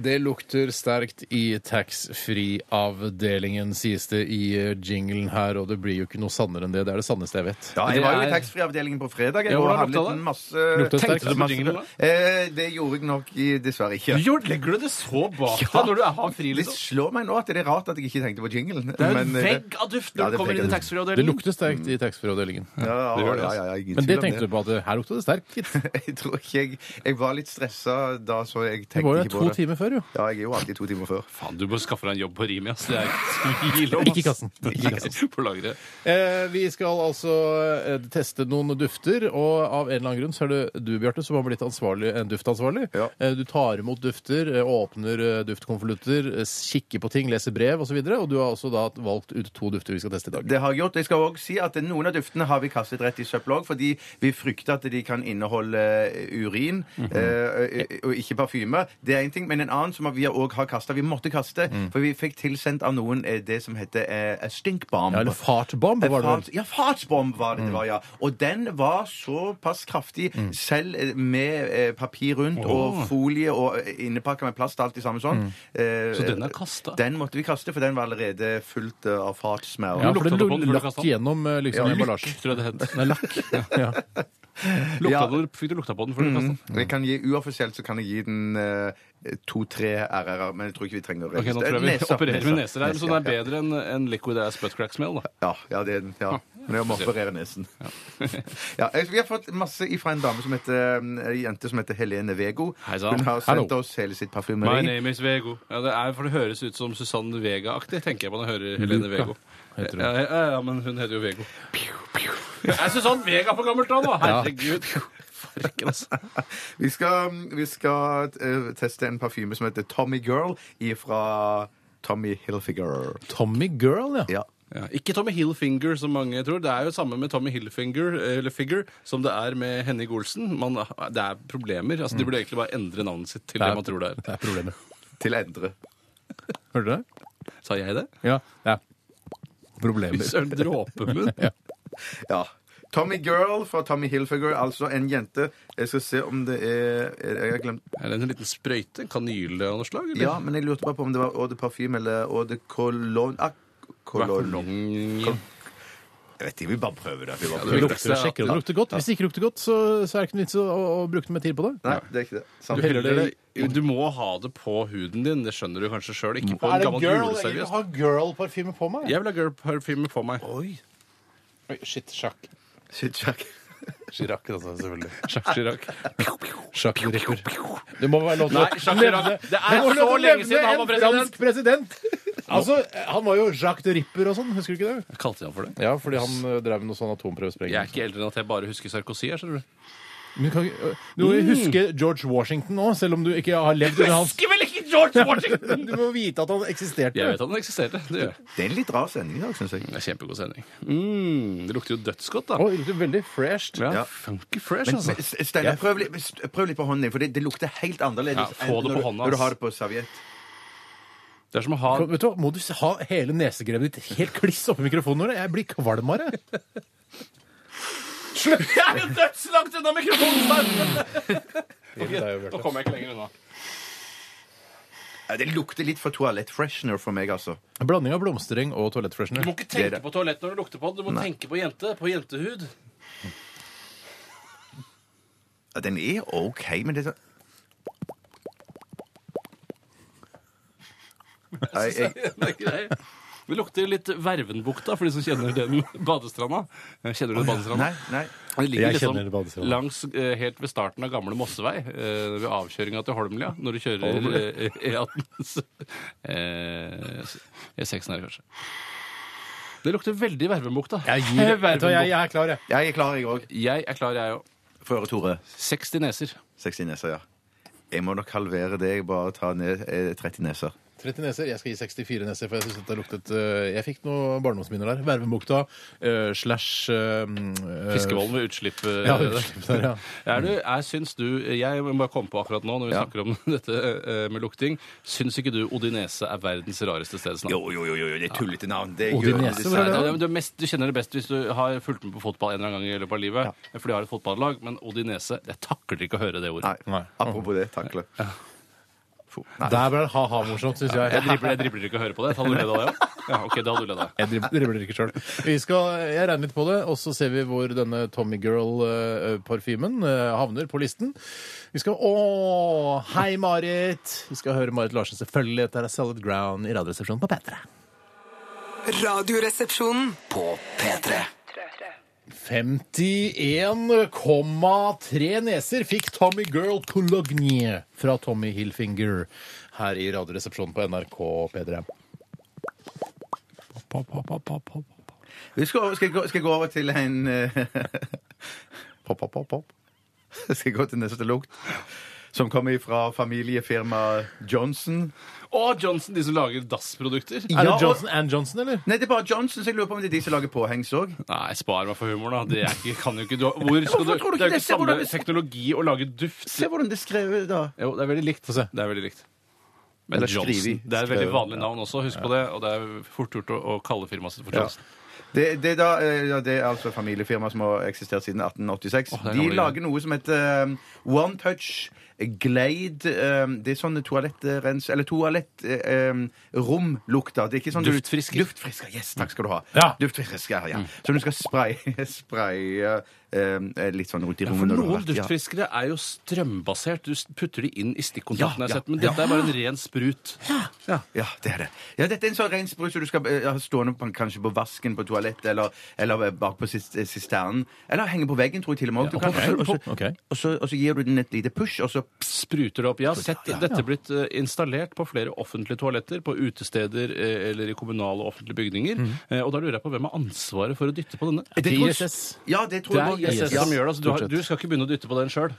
Det lukter sterkt i taxfree-avdelingen, sies det i eh, jinglen her. Og det blir jo ikke noe sannere enn det. Det er det sanneste jeg vet. Ja, jeg Det var jo i er- taxfree-avdelingen på fredag. Jeg Ja, ja, hvordan handlet lukta det? en masse Lukta det sterkt? Tenkte På jinglen, da? Eh, det gjorde jeg nok i, dessverre ikke. Jo, legger du det så bak deg når du er- har fri, Det liksom? slår meg nå at det er rart at jeg ikke tenkte på jinglen. Det er jo en men, eh, vegg av duft Ja, når det du er kommer inn vegg i av Det taxfree-avdelingen. lukter sterkt i taxfree-avdelingen. Ja, Det ja, gjør det, ja, ja, ingen Men det tvil om tenkte du på at det- her lukta det sterkt, gitt. Jeg tror ikke jeg Jeg var litt stressa da, så jeg Det tenkte var jo ikke to på det. timer før, jo. Ja, jeg er jo alltid to timer før. Faen, du må skaffe deg en jobb på Rimi, ass. Det er ikke tvil om. Ikke i ass. kassen. Ikke i Nei, På lageret. Eh, vi skal altså eh, teste noen dufter, og av en eller annen grunn så er det du, Bjarte, som har blitt ansvarlig, eh, duftansvarlig. Ja. Eh, du tar imot dufter, eh, åpner eh, duftkonvolutter, eh, kikker på ting, leser brev osv. Og, så videre, og du har også da valgt ut to dufter vi skal teste i dag. Det har jeg gjort. Jeg skal også si at Noen av duftene har vi kastet rett i søpla òg, fordi vi frykter at de kan inneholde urin Mhm. eh, og ikke parfyme. Det er én ting. Men en annen som vi òg har kasta, vi måtte kaste, Mm. for vi fikk tilsendt av noen eh, det som heter eh, stinkbomb. Ja, eller fartbomb, var det vel? Mm. Fart, ja, fartsbomb var det det var, ja. Og den var såpass kraftig, selv eh, med eh, papir rundt og folie og eh, innepakka med plast, alt i samme sånn. Mm. Eh, Så den er kastet? Den måtte vi kaste, for den var allerede fullt eh, av fartsmerder. Ja, Du for det lukta det på den før du lakk kastet den? gjennom eh, liksom, Ja, emballasjen. Tror jeg det het. Nei, lakk. Ja. Lukta Ja. du- Fikk du lukta på den før du kastet den? Jeg kan gi, uoffisielt så kan jeg gi den eh, to-tre RR-er, men jeg tror ikke vi trenger å Ok, nå tror jeg vi opererer med neser her, men så den er bedre enn enn liquid ass butt crack smell, da. Ja, ja, det er den. Ja. Men jeg må operere nesen. Ja, jeg- vi har fått masse fra en dame som heter, eh, en jente som heter Helene Vego. Hei sann. Hun har sendt Hallo. oss hele sitt My parfymeri. name is Vego. Ja, det, er, for det høres ut som Susanne Vega-aktig, tenker jeg på når jeg hører Helene Vego. heter hun. Ja, ja, ja, men hun heter jo Vego. Det er Susanne Vega på gammelt navn, da! Herregud. Farken, altså. Vi skal, vi skal eh, teste en parfyme som heter Tommy Girl fra Tommy Hilfiger. Tommy Girl, ja. Ja. Ja, ikke Tommy Hilfinger, som mange tror. Det er jo samme med Tommy Hilfinger eller Figure, som det er med Henning Olsen. Man, det er problemer. altså Mm. De burde egentlig bare endre navnet sitt til det, man tror det er. Det er problemet. Til Endre. Hørte du det? Sa jeg det? Ja. Det er problemer. Søren dråpemunn. Ja. Tommy Girl fra Tommy Hilfiger, altså en jente. Jeg skal se om det er Jeg har glemt Er det en liten sprøyte? En kanyle av noe slag? eller? Ja, men jeg lurte bare på om det var Eau de Parfyme eller Eau de Cologne. Ah, Hva er Cologne. kolongen? Jeg vet ikke, vi bare prøver det. Vi bare det prøver. er Det viktigste lukter, er at- sjekker om det lukter godt. Hvis det ikke lukter godt, så, så er det ikke noe vits å, å, å bruke noe mer tid på det. Nei, det er ikke det. Du, Samme. heller det, jo, du må ha det på huden din, det skjønner du kanskje sjøl. Ikke på en gammel juleservice. girl-parfyme på meg? Jeg vil ha girl parfyme på meg. Oi. Shit, sjakk. Shit, Jack. Chirac, altså, selvfølgelig. Sjakk Chirac. Jacques Ripper. Det må være lov til Nei, Jacques Chirac. nevne- Det må er være lov så til å lenge siden nevne han var en fransk president! Altså, Han var jo Jacques de Ripper og sånn, husker du ikke det? Kalte jeg ham for det? Ja, fordi han eh, drev med noe sånn atomprøvesprengning. Jeg er ikke eldre enn at jeg bare husker Sarkozy. her, skjønner du. Men kan, ikke- du må jo Mm. huske George Washington nå, selv om du ikke har levd under hans vel ikke George Washington! Du må vite at han eksisterte. Jeg vet at den eksisterte. Det gjør jeg. Det er en litt rar sending i dag, syns jeg. Det er Kjempegod sending. Mm, det lukter jo dødsgodt, da. Å, det lukter veldig fresht. Ja, funky fresh, Men, altså. men S- Steinar, prøv, litt- s- prøv litt på hånden din, for det, det lukter helt annerledes Ja, få enn det på når, du- hånden, ass. når du har det på serviett. Det er som å ha Vet du hva, Må du s- ha hele nesegrevet ditt helt kliss oppi mikrofonen? Nora? Jeg blir kvalmere. Jeg er jo dødslangt unna mikrofonen! Nå kommer jeg ikke lenger unna. Ja, det lukter litt for toalettfreshener for meg, altså. Blanding av blomstereng og toalettfreshener. Du må ikke tenke på toalett når du lukter på det. Du må tenke på jente. På jentehud. Ja, den er OK, men det er sånn Nei, jeg, Det er grei. Det lukter litt Vervenbukta for de som kjenner den badestranda. Kjenner du den badestranda? nei, nei. Det ligger Jeg liksom kjenner badestranda. langs, eh, helt ved starten av gamle Mossevei, eh, ved avkjøringa til Holmlia, når du kjører eh, E18 så- eh, E6 her, kanskje. Det lukter veldig Vervenbukta. Jeg gir Vet du hva, jeg, Vervenbukta. jeg er klar, jeg. Jeg er klar, jeg òg. Jeg er klar, jeg òg. Få høre, Tore. 60 neser. 60 neser, ja. Jeg må nok halvere det. Jeg bare tar ned eh, 30 neser. 30 neser. Jeg skal gi 64 neser, for jeg synes at det luktet eh, Jeg fikk noen barndomsminner der. Vervenbukta eh, slash eh, eh, Fiskevollen ved utslipp. eh, Ja, utslipp der, ja. Er du, er, syns du, jeg må bare komme på akkurat nå når vi Ja. snakker om dette eh, med lukting, syns ikke du Odinese er verdens rareste stedsnavn? Jo, jo, jo, jo, jo, det er tullete navn. Det er Odin gjør- Nese, hvor er det? Ja, men Du, er mest, du kjenner det best hvis du har fulgt med på fotball en eller annen gang i løpet av livet. For de har et fotballag, men Odinese Jeg takler ikke å høre det ordet. Nei. Nei. Apropos det, takle. Fo- Nei. Der ble det ha-ha-morsomt, syns jeg. Jeg dribler, jeg dribler ikke å høre på det. Hadde du ledd av det òg? Ja, OK, det hadde du ledd av. Jeg drib- dribler ikke sjøl. Jeg regner litt på det, og så ser vi hvor denne Tommy Girl-parfymen eh, havner på listen. Vi skal Å, hei, Marit! Vi skal høre Marit Larsen, selvfølgelig. Dette er Solid Ground i Radioresepsjonen på P3. Radioresepsjonen. På P3. 51,3 neser fikk Tommy Girl Cologne fra Tommy Hilfinger her i Radioresepsjonen på NRK P3. Vi skal, over- skal, jeg gå, skal jeg gå over til en eh, Pop, pop, pop, pop. Skal jeg gå til neste lukt? Som kommer fra familiefirmaet Johnson. Å, Johnson, de som lager dassprodukter? Er det og- Johnson and Johnson, eller? Nei, det er bare Johnson, så jeg lurer på om det er de som lager påhengs òg. Nei, spar meg for humoren, da. Det er ikke, kan jo ikke du Hvor skal du Hvorfor tror du Det er jo ikke det? ikke Se hvordan samme det- teknologi å lage duft. Se hvordan det er skrevet, da. Jo, det er veldig likt. Få se. Det er veldig likt. Men Eller Johnson. skrivi. Det er et veldig Skrive, vanlig navn også, husk på det. Og det er fort gjort å, å kalle firmaet sitt for Johnson. Det, det, er da, eh, ja, det er altså et familiefirma som har eksistert siden 1886. Åh, det er de gammel lager noe som heter um, One Touch Glade. Um, det er sånn toalettrens... Eller toalettromlukter. Det er ikke sånn du- Duftfrisker. Mm. Duftfrisker, yes, takk skal du ha. Ja. Duftfrisker, ja. Som du skal spraye, spraye eh, litt sånn rundt i Ja, for rommet. når du har noen vært- ja. duftfriskere er jo strømbasert. Du s- putter de inn i stikkontakten. Ja, jeg ja, har sett, men dette er bare en ren sprut. Ja, det er det. Ja, dette er en sånn ren sprut som du skal eh, ha stående på, kanskje på vasken på toalettet, eller, eller bak på sis- eh, sisternen. Eller henge på veggen, tror jeg til og med. Du kan- ok, og så- ok. Og så og så gir du den et lite push, og så Spruter det opp. Jeg har sett dette blitt eh, installert på flere offentlige toaletter, på utesteder eh, eller i kommunale og offentlige bygninger. Eh, Og da lurer jeg på hvem har ansvaret for å dytte på denne? Mhm. Det tror jeg- ISS. Ja, det tror Det jeg er også. ISS Ja. som gjør det. Altså, du, har, stort sett. du skal ikke begynne å dytte på den sjøl.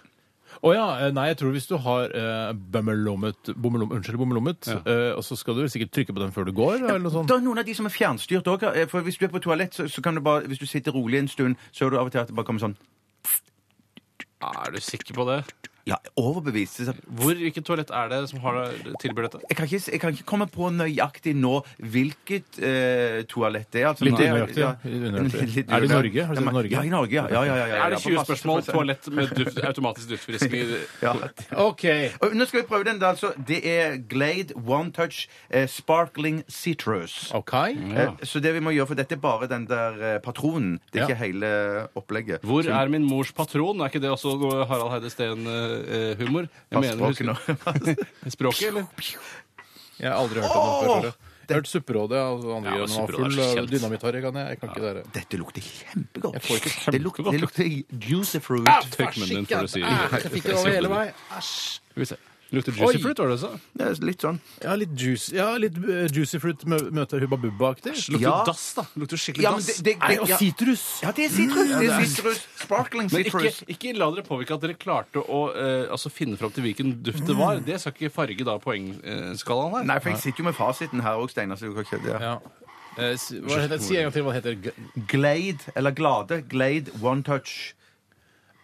Å ja, eh, nei, jeg tror hvis du har eh, bommelommet, bommelom, unnskyld, bommelommet, eh, og så skal du vel sikkert trykke på den før du går, eller noe sånt. Det er noen av de som er fjernstyrt òg. For hvis du er på toalett, så, så kan du bare Hvis du sitter rolig en stund, så er du av og til at det bare kommer sånn Er du sikker på det? Ja, overbevist. Så- Hvor, Hvilket toalett er det som har tilbyr dette? Jeg kan, ikke, jeg kan ikke komme på nøyaktig nå hvilket eh, toalett det er. Altså, Litt det er- unøyaktig, ja. Litt unøyaktig. Er det i Norge? Har du sett Norge? Ja, i Norge. Ja, ja, ja, ja, ja, Er det på 20 masse- spørsmål toalett med duft, automatisk duftfriskning? Ja. OK. Og nå skal vi prøve den. da, altså. Det er Glade One Touch eh, Sparkling Citrus. OK. Ja. Eh, Så det vi må gjøre, for dette er bare den der eh, patronen. Det er Ja. ikke hele opplegget. Hvor Så- er min mors patron? Er ikke det også noe Harald Heide eh, Steen-humor? Pass språket nå. Språket, eller? Jeg har aldri hørt om den før. Åh! tror jeg. Jeg har hørt Supperådet av andre Ja, greier. Den var Supperådet er full så av kjent. dynamittharry, kan jeg. Jeg kan ikke det her. Dette lukter kjempegodt. får ikke Det lukter, det lukter juicy fruit. Tørk munnen din for å si Jeg fikk det over hele vei. Æsj. Skal vi se. Lukter juicy Oi! fruit, var det du sa? Ja, Litt sånn. Ja, litt juice. Ja, litt eh, juicy fruit mø- møter Hubba Bubba-aktig. Lukter Ja. dass, da. Lukter skikkelig Ja, men dass. det- det- Nei, og ja. sitrus. Ja, det er sitrus! Det er sitrus. Sparkling Men ikke, sitrus. ikke la dere påvirke at dere klarte å eh, altså finne fram til hvilken duft det var. Det skal ikke farge da poengskalaen her. Nei, for jeg sitter jo med fasiten her òg, Steinar. så du kan ikke- ja. Ja. Eh, si- Hva heter, si en gang til hva det heter. G- Glade, eller Glade, Glade One Touch.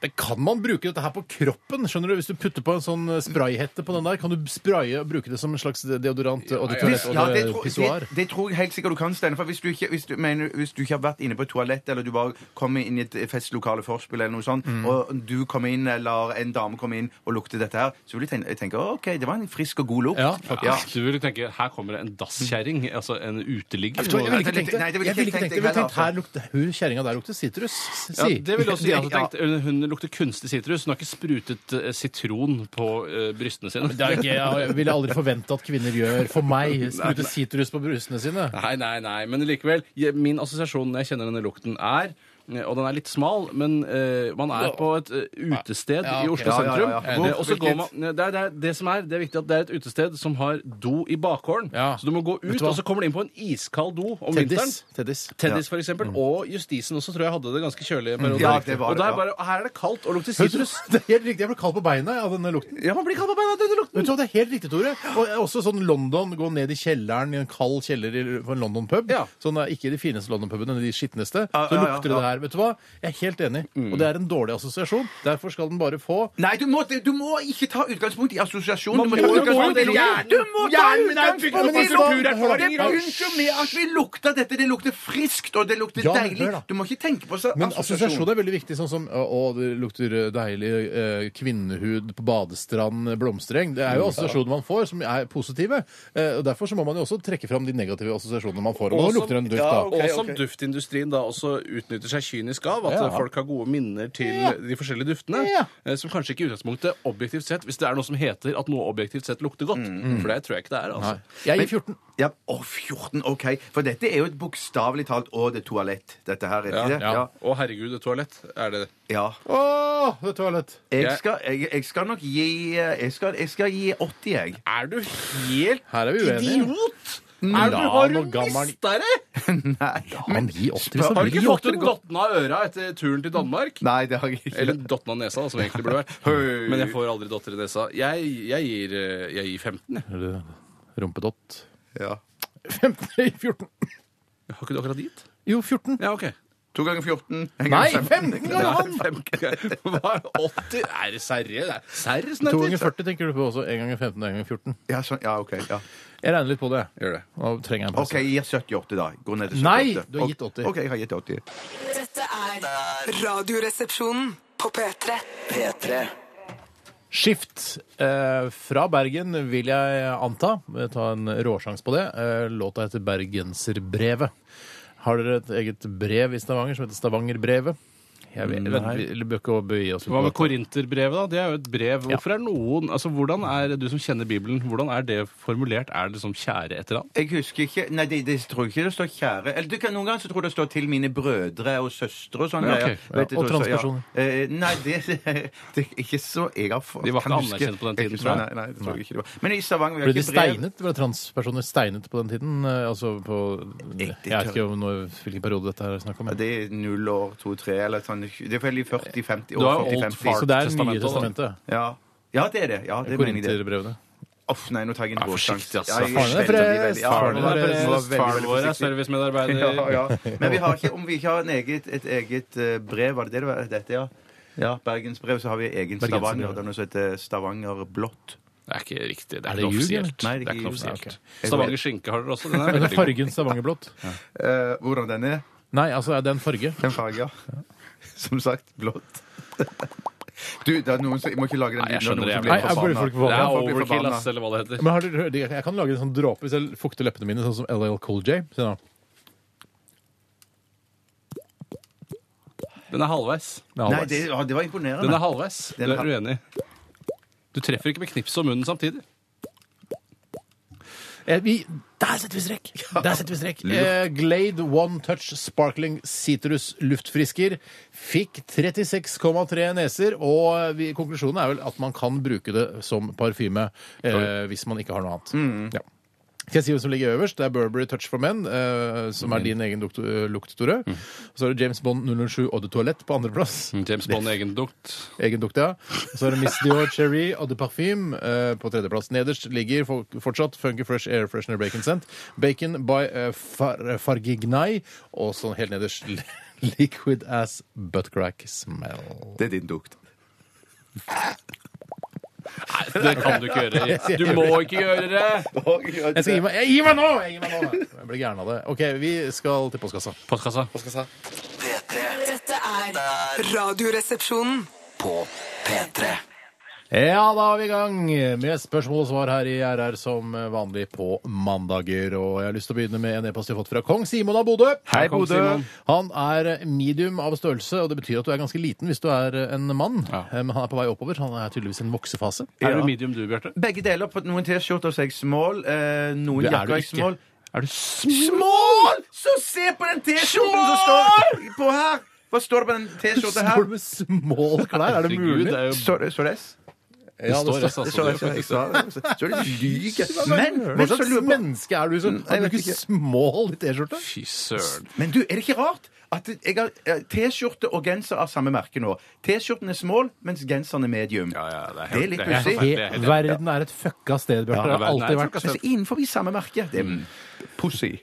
Det kan man bruke dette her på kroppen. skjønner du? Hvis du putter på en sånn eh, sprayhette på den der, kan du spraye og bruke det som en slags deodorant og Hvis, deodorant ja, og det, det- tror, pissoar. det, det tror jeg helt sikkert du kan, Steinar. For hvis du, ikke, hvis, du, mener, hvis du ikke har vært inne på et toalett, eller du bare kommer inn i et festlokale forspill, eller noe sånt, og du kommer inn, eller en dame kommer inn og lukter dette her, så vil du tenke, tenke «Å, OK, det var en frisk og god lukt. Ja, faktisk. Ja. Du vil tenke her kommer det en dasskjerring, altså en uteligger. Jeg tror- jeg ville ikke Nei, tenkt det. nei, Jeg det ville ville ikke ikke tenkt tenkt det det. Jeg ville tenkt heller, her lukter hun kjerringa der lukter sitrus. Ja, Si. det ville også jeg også Ja. tenkt. Hun- Hun lukter kunstig sitrus. Hun har ikke sprutet eh, sitron på eh, brystene sine. Det er ikke, jeg ville aldri forvente at kvinner gjør for meg. Sprute sitrus på brusene sine. Nei, nei, nei, men likevel. jeg- Min assosiasjon når jeg kjenner denne lukten er eh, og den er litt smal, men eh, man er på et eh, utested Ja, ok. i Oslo Ja, ja, sentrum. ja, ja. Eh, Og så Hvilket- går man ne, det, er, det, er, det som er, det er viktig at det er et utested som har do i bakhåren. Ja. Så du må gå Vet ut, du hva? og så kommer du inn på en iskald do om vinteren. Teddis. Teddis. Tennis, for eksempel, og Justisen også tror jeg hadde det ganske kjølig. i perioder. Ja, det var og det, der ja. bare, her er det kaldt og lukter Vet du, sitrus. Det er helt riktig. Jeg ble kald på beina av denne lukten. Ja, man blir kald på beina av denne lukten. Vet du hva, Det er helt riktig, Tore. Og også sånn London, gå ned i kjelleren i en kald kjeller i- på en London-pub. Ja. Sånn, eh, ikke de fineste London-pubene, men de skitneste. Ja, Så ja, ja, lukter det ja. Mm. her. Vet du hva? Jeg er helt enig. Og det er en dårlig assosiasjon. Derfor skal den bare få Nei, du må, du må ikke ta utgangspunkt i assosiasjon. Du må må ta jo gå utgangspunkt i ut i hjernen. Du må ta Hjernen er bygd opp utgangspunkt i av lukten! kulturerfaring. Det begynner med at vi lukter dette. Det lukter friskt, og det lukter Ja, men deilig. hør da. Du må ikke tenke på så- Men assosiasjon. assosiasjon er veldig viktig, sånn som å, å, det lukter deilig eh, kvinnehud på badestrand, blomstereng. Det Mm. er jo assosiasjoner man får som er positive. Eh, og Derfor så må man jo også trekke fram de negative assosiasjonene man får. Og nå som- lukter det en duft, ja, da. ok. og som duftindustrien da også utnytter seg kynisk av, at Ja. eh, folk har gode minner til Ja. de forskjellige duftene, Ja. eh, som kanskje ikke i utgangspunktet objektivt sett, hvis det er noe som heter at noe objektivt sett lukter godt, Mm. for det tror jeg ikke det er, altså. Mm. Jeg gir 14. Ja, Å, 14, OK. For dette er jo et bokstavelig talt Å, det er toalett. Dette her, er Ja, ikke det? ja. Og herregud, et toalett er det. ja. Åh, det er toalett. Jeg, skal, jeg, jeg skal nok gi Jeg skal, jeg skal gi 80, jeg. Er du helt Her er vi uenige. idiot? Ja, Er du, har du noe gammel- mista det? Nei. Men gi 80 hvis Spør- han Har vil. du ikke fått en dotten av øra etter turen til Danmark? Nei, det har jeg ikke. Eller dotten av nesa, da, som egentlig burde vært. Høy. Men jeg får aldri dotter i nesa. Jeg, jeg, gir, eh, jeg gir 15, jeg. Eller Rumpedott. Ja. 15 i 14. Har ikke du akkurat dit? Jo, 14. Ja, OK. To ganger 14. en Nei, gang fem. 15 ganger han! Hva er 80? Er det serre? Det er serre 2 som ganger heter? 40 tenker du på også. 1 ganger 15 og 1 ganger 14. Ja, sånn, ja, OK. Ja. Jeg regner litt på det. Gjør det. Nå trenger jeg en OK, pause. jeg gir 78, da. Gå ned til 78. Nei, du har Ok, gitt 80. OK, jeg har gitt 80. Dette er Radioresepsjonen på P3. P3 Skift eh, fra Bergen, vil jeg anta. eh, Ta en råsjans på det. Eh, låta heter Bergenserbrevet. Har dere et eget brev i Stavanger som heter Stavangerbrevet? Jeg vet, vent, vi vi bør ikke begi oss ut Hva på med dette. korinterbrevet, da? Det er jo et brev. Hvorfor er noen Altså, hvordan er Du som kjenner Bibelen, hvordan er det formulert? Er det som kjære et eller annet? Jeg husker ikke Nei, det, det tror jeg ikke det står kjære. Eller du kan noen ganger så tror jeg det står 'til mine brødre og søstre' og sånn. Ja, ok. greier. Ja, Vet du, og så- transpersoner. Ja. Eh, nei, det, det er ikke så jeg har fått De var ikke kan huske. anerkjent på den Det er tiden, ikke tror jeg. så- Nei, nei, det tror jeg ikke det var. Men i Stavanger vi har Ble de ikke brev. steinet? Ble transpersoner steinet på den tiden? Eh, Altså på Jeg vet ikke om når, hvilken periode dette her er snakk om. Ja, Det er null år, to-tre, eller sånn Det er vel i 40-50 Du har år. jo Old 40-50. Fart Så det er Nye Testamentet, da. testamentet. Ja. ja, det er det. Ja, det mener jeg det. Korinterbrevene. Uff, nei, nå tar jeg en Vær gråsans. forsiktig, altså. Ja, jeg Faren er veldig, frelst, veldig- ja, faren er nå var jeg veldig- frelst, nå var jeg veldig, Faren veldig vår er eh. forsiktig. servicemedarbeider. Ja, ja. Men vi har ikke, om vi ikke har en eget, et eget eh, brev, var det det det var? Dette, ja. ja Bergensbrev, så har vi egen Stavanger. Det er noe som heter Stavanger Blått. Det er ikke riktig. Det Er er, det ikke ljug, offisielt. eller? Nei, det er det er ikke ikke ljug. offisielt. Ja, Stavanger skinke har dere også. Den er Men veldig er god. fargen stavangerblått? Eh, hvordan den er? Nei, altså er det en farge? Den fargen. Som sagt, blått. Du, det er noen som, jeg må ikke lage den Nei, jeg lyden, det skjønner det. er noen som blir Nei, jeg burde forbanna. folk få- Det Ja, er folk blir overkill, forbanna. ass, eller hva det heter. Men har dere, hørt- jeg kan lage en sånn dråpe hvis jeg fukter leppene mine, sånn som LL Cool J. Se nå. Den er halvveis. Den er Nei, halvveis. det, ja, det var imponerende. Den er halvveis. Du Den er er uenig. Du treffer ikke med knipset og munnen samtidig. Eh, vi, der setter vi strek! Der setter vi strek. Eh, Glade One Touch Sparkling Citrus Luftfrisker fikk 36,3 neser, og eh, vi, konklusjonen er vel at man kan bruke det som parfyme eh, hvis man ikke har noe annet. Ja. Skal jeg si hvem som ligger øverst? Det er Burberry Touch for Men, eh, som er din egen lukt, eh, lukt Tore. Så er det James Bond 007 Eau de Toilette på andreplass. James Bond egen dukt. Egen dukt, ja. Så er det Miss Dior Cherry Eau de Parfyme eh, på tredjeplass. Nederst ligger for- fortsatt Funky Fresh Air Freshener Bacon Scent. Bacon by eh, far, Fargignai. Og sånn helt nederst Liquid Ass Butt Crack Smell. Det er din dukt. Nei, det kan du ikke gjøre. Du må ikke gjøre det! Jeg skal gi meg, jeg gir meg nå! Jeg gir meg nå! Jeg blir gæren av det. OK, vi skal til postkassa. Postkassa. P3 Dette er Radioresepsjonen. på P3. Ja, da er vi i gang med spørsmål og svar her i RR som vanlig på mandager. Og jeg har lyst til å begynne med en e-post jeg har fått fra kong Simon av Bodø. Hei, Kong Bodø. Simon. Han er medium av størrelse, og det betyr at du er ganske liten hvis du er en mann. Ja. Eh, Men han er på vei oppover. Han er tydeligvis i en voksefase. Er du medium du, Bjarte? Begge deler. På noen T-skjorter så er jeg smål, eh, noen Du er du jakker er jeg ikke. smål. Er du sm... Smål! Så se på den T-skjorten som står på her! Hva står det på den T-skjorta Står her? du med små klær? Er det Herregud, mulig? det er jo Står det, står det S? Ja, det står står- S, altså. Det står det S, ja, er jeg sa det. Så er det lyge. Men, Hva men, så slags lurer jeg på- menneske er du Mm, som jeg har vet bruker ikke. small i T-skjorte? Fy søren. men du, er det ikke rart at jeg har eh, T-skjorte og genser av samme merke nå? T-skjorten er small, mens genseren er medium. Ja, ja, det er, Det er helt- litt det er helt pussig. forferdelig. Det er helt- Verden er et fucka sted, Bjarte. Det har verden er et alltid vært. fucka Men så innenfor samme merke. Det er pussig.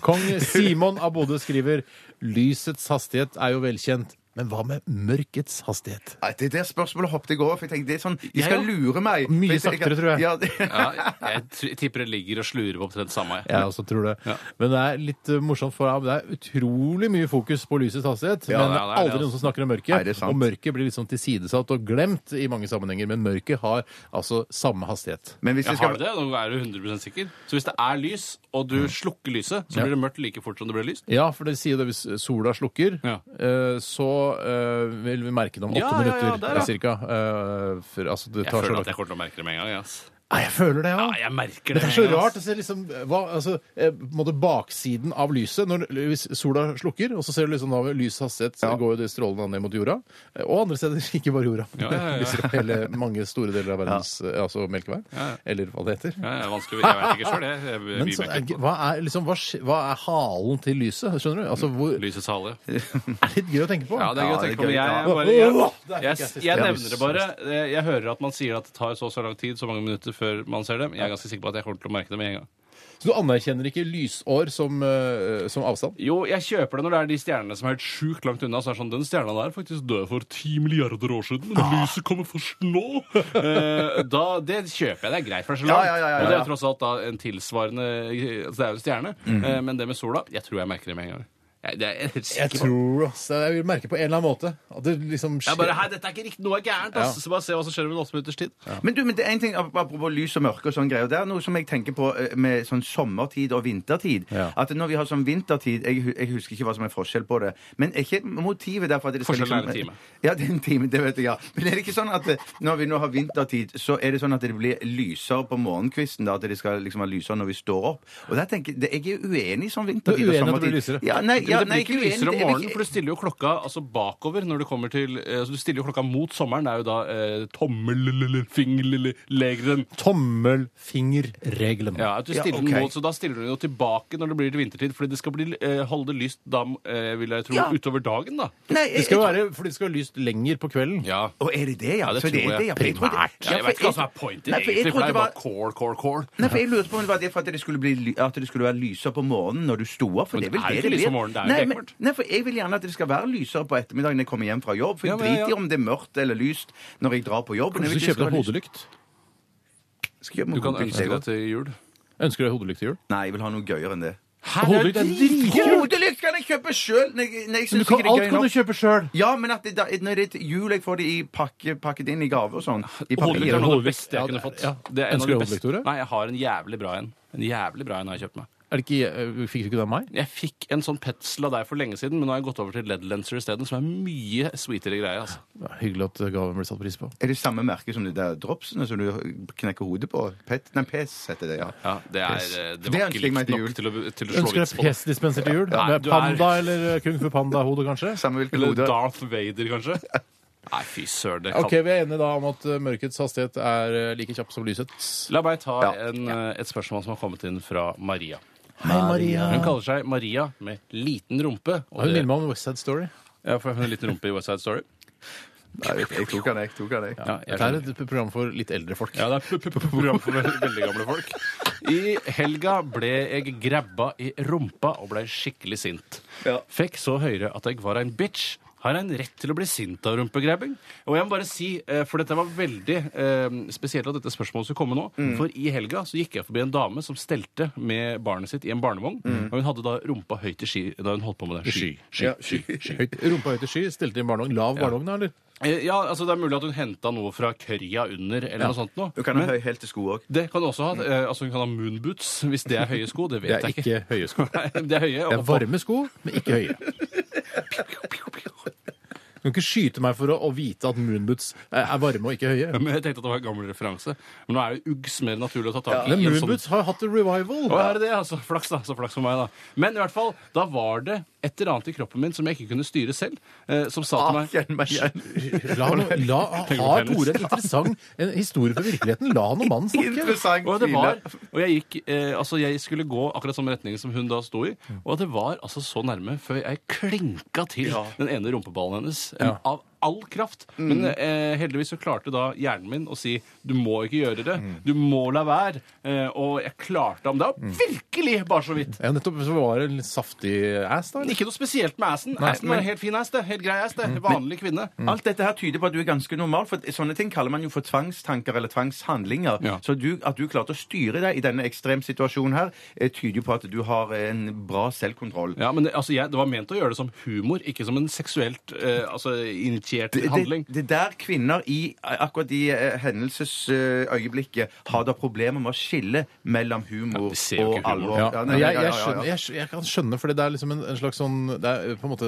Kong Simon av Bodø skriver Lysets hastighet er jo velkjent, men hva med mørkets hastighet? Nei, Det der spørsmålet hoppet jeg over. For jeg tenkte, det er sånn, De skal ja. lure meg. Mye For jeg- saktere, tror jeg. Ja, det, Ja, jeg tr- tipper det ligger og slurer på omtrent samme. jeg. Jeg også tror det. Ja. Men det er litt eh, morsomt, for det er utrolig mye fokus på lysets hastighet, Ja, men det er det, aldri altså. noen som snakker om Nei, mørket. det er sant. og mørket blir liksom tilsidesatt og glemt i mange sammenhenger, men mørket har altså samme hastighet. men hvis Jeg jeg har skal Mm. det, nå er du 100 sikker. Så hvis det er lys, og du slukker lyset, så blir det mørkt like fort som det ble lyst? Ja, for det sier det hvis sola slukker, Ja. eh, så eh, vil vi merke det om åtte Ja, ja, ja, minutter der, ja. cirka. Eh, for, altså, det Jeg tar så føler lang at jeg kommer til å merke det med en gang. jeg, ass. Nei, jeg føler det, ja. Ja, jeg merker det. Det er så med en gang, rart. å ass. se liksom, hva, altså, eh, på en måte baksiden av lyset når, hvis sola slukker, og så ser du liksom da ved lys hastighet så går jo det strålene ned mot jorda. eh, Og andre steder, ikke bare jorda. Ja, ja, ja. Lyser opp hele mange store deler av verdens eh, altså Melkeveien. Eller hva det heter. Ja, det er vanskelig. Jeg vet ikke sjøl, jeg. jeg, jeg, Men jeg, så, er, hva, er, liksom, hva, skje- hva er halen til lyset? Skjønner du? Altså, hvor, det Lysets hale. er litt gøy å tenke på. Ja, det er gøy å Ja, det er tenke på. men Jeg, gøy. Ja. jeg, bare, jeg, Det er ikke jeg, jeg jeg nevner siste. det bare. Eh, Jeg jeg hører at man sier at det tar så og så lang tid, så mange minutter før man ser det. Men jeg er ganske sikker på at jeg kommer til å merke det med en gang. Så du anerkjenner ikke lysår som, eh, som avstand? Jo, jeg kjøper det når det er de stjernene som er helt sjukt langt unna. Så er det sånn, Den stjerna der faktisk døde for ti milliarder år siden. Men lyset kommer først nå! Eh, da, det kjøper jeg. Det er greit, for det er så Ja, langt. ja, ja, ja, Og det ja. er tross alt da en tilsvarende altså Det er jo en stjerne. Eh, men det med sola Jeg tror jeg merker det med en gang. Jeg, det er jeg helt Jeg sikker på. tror også, jeg vil merke på en eller annen måte at det liksom Jeg bare, skjer. hei, dette er ikke riktig, noe er gærent, ass. Ja. Så bare se hva som skjer om en åtte minutters tid. Men du, men det er en ting ap- apropos lys og mørke og sånn greier. Det er noe som jeg tenker på eh, med sånn sommertid og vintertid. Ja. At når vi har sånn vintertid jeg, hu- jeg husker ikke hva som er forskjell på det. Men er ikke motivet derfor at det liksom- Forskjellen er en time. Ja, det er en time. Det vet jeg, ja. Men er det ikke sånn at eh, når vi nå har vintertid, så er det sånn at det blir lysere på morgenkvisten? da, At det skal liksom være lysere når vi står opp? Og der tenker jeg, det- Jeg er uenig i sånn vintertid Du er uenig og at det sommertid. blir lysere? Ja, nei, ja, det blir nei, ikke jeg er uenig. lysere om Jeg vil morgenen, ikke- for du stiller jo klokka altså, bakover når du kommer til eh, altså, Du stiller jo klokka mot sommeren. Det er jo da eh, tommelfingerlegeren. Tommelfingerregelen. Ja, at du Ja, stiller ok. den mot, så Da stiller du den jo tilbake når det blir til vintertid, fordi det skal bli, eh, holde det lyst da, eh, vil jeg tro, Ja. utover dagen, da. Nei, jeg- Det skal jo være fordi det skal være lyst lenger på kvelden. Ja. Å, er det det, ja? Ja, det Så tror er jeg. det, for trodde- Primært. Ja, jeg vet for ikke hva som er pointen, Nei, for jeg egentlig, for det trodde er bare core, core, core. Nei, for jeg lurte på om det var det for at det skulle bli, ly- at det skulle være lysere på morgenen når du sto opp. For Men det er vel det er jo det det ikke lys blir. om morgenen, det er jo nei, bekmørkt. men- nei, for jeg vil gjerne at det skal være lysere på ettermiddagen når jeg kommer hjem fra jobb. For Ja, jeg men, ja, driter ja. jo om det er mørkt eller lyst når jeg drar på jobb. men Kanskje du jeg vil ikke kjøper det deg skal være hodelykt? lyst. Skal jeg kjøpe Du kan hodelykt, ønske jeg deg også? til jul. Ønsker du deg hodelykt til jul? Nei, jeg vil ha noe gøyere enn det. Hodelykt er dritkult! Hodelykt kan jeg kjøpe sjøl! Men du kan- Alt kan du kjøpe sjøl! Ja, men at det, da, når det er til jul, jeg får det i pakke, pakket inn i gave og sånn. I Hodelykt er papir. noe av det Hodelykt. beste Ja, jeg kunne det- fått. ja. Det er en av Ønsker du de beste- hodelykt, Tore? Nei, jeg har en jævlig bra en. En jævlig bra en har jeg kjøpt meg. Er det ikke, eh, fikk du ikke det av meg? Jeg fikk en sånn Petzl av deg for lenge siden, men nå har jeg gått over til LED lenser isteden, som er mye sweetere greie. altså. Ja, hyggelig at gaven ble satt pris på. Er det samme merke som de der dropsene som du knekker hodet på? Pet, nei, PS heter det, ja. Ja, det, er, Pes. eh, det Det var ønsker ikke jeg meg likt til nok jul. til å, til å slå Ønsker vits deg på det. pesdispenser til jul? Nei, Det er du er- Panda eller eh, kung fu panda-hode, kanskje? Samme hvilken Eller hode. Darth Vader, kanskje? Nei, fy søren. det kan- Ok, Vi er enige da om at eh, mørkets hastighet er eh, like kjapp som lysets. La meg ta Ja. en, eh, et spørsmål som har kommet inn fra Maria. Hei, Maria. Hun kaller seg Maria med liten rumpe. og Ja, Ah. Hun det- minner meg om West Side Story. Ja, for hun har en liten rumpe i West Side Story. Nei, jeg- jeg tok han, jeg. Tok han, jeg. Ja, jeg Dette er et program for litt eldre folk. Ja, det er p- p- p- program for veldig, veldig gamle folk. I helga ble jeg grabba i rumpa og ble skikkelig sint. Fikk så høre at jeg var en bitch. Har jeg en rett til å bli sint av rumpegrabbing? Og jeg må bare si, eh, for dette var veldig eh, spesielt at dette spørsmålet skulle komme nå. Mm. For i helga så gikk jeg forbi en dame som stelte med barnet sitt i en barnevogn. Mm. Og hun hadde da rumpa høyt i sky da hun holdt på med det. Sky, sky, sky, sky. Høyt, rumpa høyt i sky, stelte i en barnevogn. Lav barnevogn, da, eller? Eh, Ja, altså det er mulig at hun henta noe fra kørja under, eller noe sånt noe. Du kan ha høy hælte sko òg. Det kan du også ha. Eh, Altså Hun kan ha moonboots hvis det er høye sko. Det vet Det er jeg ikke høye sko. Nei, det er høye. Det er og- varme sko, men ikke høye. Du kan ikke skyte meg for å, å vite at moonboots er er varme og ikke høye. Men jeg tenkte at det var en gammel referanse. Men nå er jo Uggs mer naturlig å ta tak i. Men enn sånn- sånn- moonboots har hatt en Å, revival. er det det? Altså, flaks, da. Så flaks for meg, da. Men i hvert fall, da var det et eller annet i kroppen min som jeg ikke kunne styre selv, eh, som sa Ah, til meg Kjenn meg igjen. La, han- la, har Tore en interessant en historie fra virkeligheten? La nå mannen snakke. Interessant. Og, det var, Tyle. og jeg gikk eh, Altså, jeg skulle gå akkurat samme retning som hun da sto i, og det var altså så nærme før jeg klinka til den ene rumpeballen hennes eh, av all kraft. Men eh, heldigvis så klarte da hjernen min å si du må ikke gjøre det, Mm. du må la være. Eh, og jeg klarte om det var virkelig bare så vidt. Ja, nettopp så var det en saftig ass, da. eller? Ikke noe spesielt med assen. assen var en helt fin ass, det. Helt grei ass, det. Mm. Vanlig kvinne. Alt dette her tyder på at du er ganske normal, for sånne ting kaller man jo for tvangstanker eller tvangshandlinger. Ja. Så du, at du klarte å styre deg i denne ekstremsituasjonen her, eh, tyder jo på at du har en bra selvkontroll. Ja, men det, altså, jeg, det var ment å gjøre det som humor, ikke som en seksuelt eh, altså, initiert Det, handling. det, det der kvinner i akkurat i eh, hendelsesøyeblikket har da problemer med å skille mellom humor de ser jo ikke og humor. alvor. Ja, Ja, men jeg, nei, ja, ja, jeg, ja, skjønner, ja. jeg, skj- jeg kan skjønne, for det er liksom en, en slags sånn det er på en måte,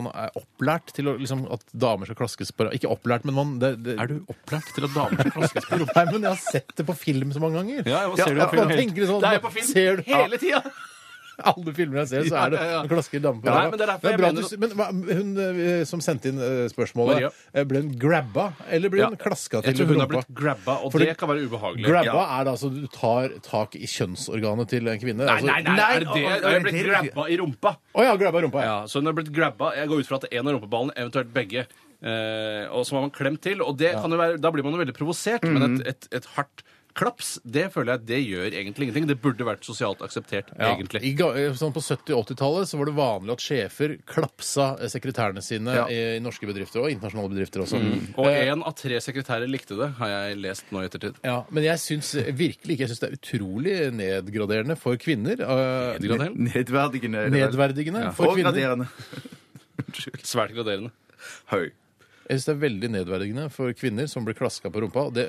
Man er opplært til å, liksom, at damer skal klaskes på ra- Ikke opplært, men man det, det, Er du opplært til at damer skal klaskes på rumpa? Nei, men jeg har sett det på film så mange ganger. Ja, ja, ser du Ja, på film man hele- tenker sånn, Det er jo man på film ser du- hele tida! Alle filmer jeg ser, så er det Ja, ja, ja. en klasker dame på Nei, ræva. men det er derfor jeg bra mener at du- Men hva- hun eh, som sendte inn eh, spørsmålet, Maria. eh, ble hun grabba, eller ble hun Ja. klaska til Jeg tror hun rumpa? har blitt grabba, og Fordi- det kan være ubehagelig. Grabba er da altså du tar tak i kjønnsorganet til en kvinne? Nei, altså- nei, nei, Nei, er det det? og- og- Hun er blitt det- grabba i rumpa. Å ja, grabba rumpa. Ja, så hun er blitt grabba. Jeg går ut fra at en av rumpeballene, eventuelt begge. Mm. Eh, og så var man klemt til, og det kan jo være, da blir man jo veldig provosert, men et, et, et hardt klaps, det føler jeg det gjør egentlig ingenting. Det burde vært sosialt akseptert, Ja, egentlig. i ga- eh, sånn på 70- og 80-tallet så var det vanlig at sjefer klapsa eh, sekretærene sine Ja. i, i norske bedrifter og internasjonale bedrifter også. Og Eh. én av tre sekretærer likte det, har jeg lest nå i ettertid. Ja, Men jeg syns virkelig ikke Jeg syns det er utrolig nedgraderende for kvinner. eh, Nedgraderende? Nedverdigende. er det vel? Nedverdigende for Og kvinner. graderende. Svært graderende. Høy. Jeg synes det er veldig nedverdigende for kvinner som blir klaska på rumpa. Det,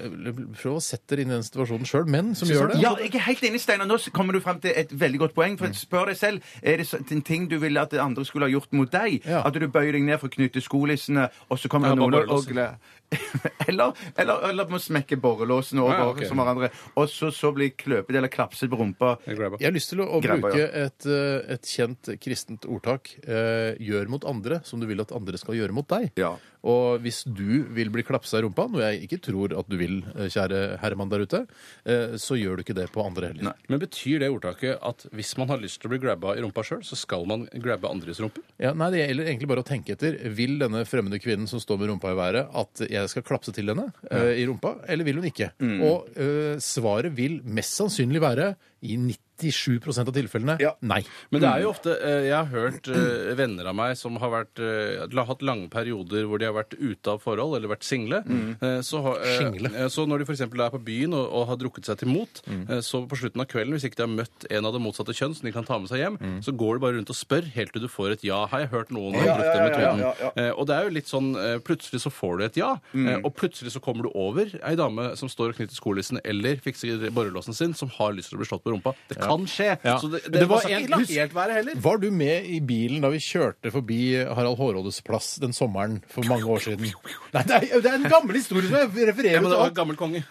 prøv å sette dere inn i den situasjonen sjøl. Menn som gjør det. Ja, jeg er helt enig, Steinar. Nå kommer du frem til et veldig godt poeng. Mm. For spør deg selv, er det så- en ting du ville at andre skulle ha gjort mot deg? Ja. At du bøyer deg ned for å knytte skolissene, og så kommer Ja, det noen bare og eller, eller, eller må smekke borrelåsen over Ja, ok. som hverandre. Og så, så blir kløpet eller klapset på rumpa. Jeg grabba. Jeg har lyst til å, å Grabba, bruke ja. et, eh, et kjent kristent ordtak. Eh, gjør mot andre som du vil at andre skal gjøre mot deg. Ja. Og hvis du vil bli klapsa i rumpa, noe jeg ikke tror at du vil, eh, kjære herremann der ute, eh, så gjør du ikke det på andre heller. Men betyr det ordtaket at hvis man har lyst til å bli grabba i rumpa sjøl, så skal man grabbe andres rumpe? Ja, nei, det gjelder egentlig bare å tenke etter. Vil denne fremmede kvinnen som står med rumpa i været, at jeg skal klapse til henne eh, i rumpa, eller vil hun ikke? Mm. Og eh, svaret vil mest sannsynlig være, i 97 av tilfellene, nei. Men det er jo Mm. ofte eh, Jeg har hørt eh, venner av meg som har vært, eh, la- hatt lange perioder hvor de har vært ute av forhold eller vært single. Mm. Eh, så, har- eh, Single. eh, så når de f.eks. er på byen og, og har drukket seg til mot, Mm. eh, så på slutten av kvelden, hvis ikke de har møtt en av det motsatte kjønn som de kan ta med seg hjem, så går de bare rundt og spør helt til du får et ja. Har jeg hørt noen har Mm. Ja, brukt ja, den ja, metoden? ja, ja, Mm. Eh, og det er jo litt sånn eh, Plutselig så får du et ja, eh, og plutselig så kommer du over ei dame som står og knytter skolissen eller fikser borrelåsen sin, som har lyst til å bli slått på rumpa. Det kan skje. Så det, det, Det var man skal en- ikke la husk- helt være heller. Mm. Var du med i bilen da vi kjørte forbi Harald Hårrådes plass den sommeren for mange år siden? Nei, det er, det er en gammel historie som jeg refererer Ja, men til. det var alt. gammel konge.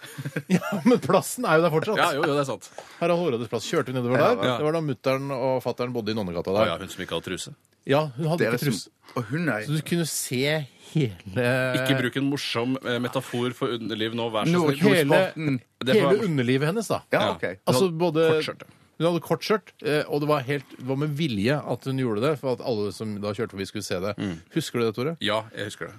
Ja, men plassen er jo der fortsatt. Ja, jo, jo, det er sant. Harald Hårrådes plass kjørte vi nedover der. ja. Det var da mutter'n og fatter'n bodde i Nonnegata der. ja, hun som ikke hadde truse. Ja, hun hadde Dere ikke som, trus. og hun er Så du kunne se hele Ikke bruk en morsom eh, metafor for underliv nå, vær så Nord- snill. hele, Nordsporten. Det får hele være- underlivet hennes, da. Ja, OK. Altså både kort skjørt, ja. Hun hadde kort skjørt, eh, og det var, helt, det var med vilje at hun gjorde det, for at alle som da kjørte forbi, skulle se det. Mm. Husker du det, Tore? Ja, jeg husker det.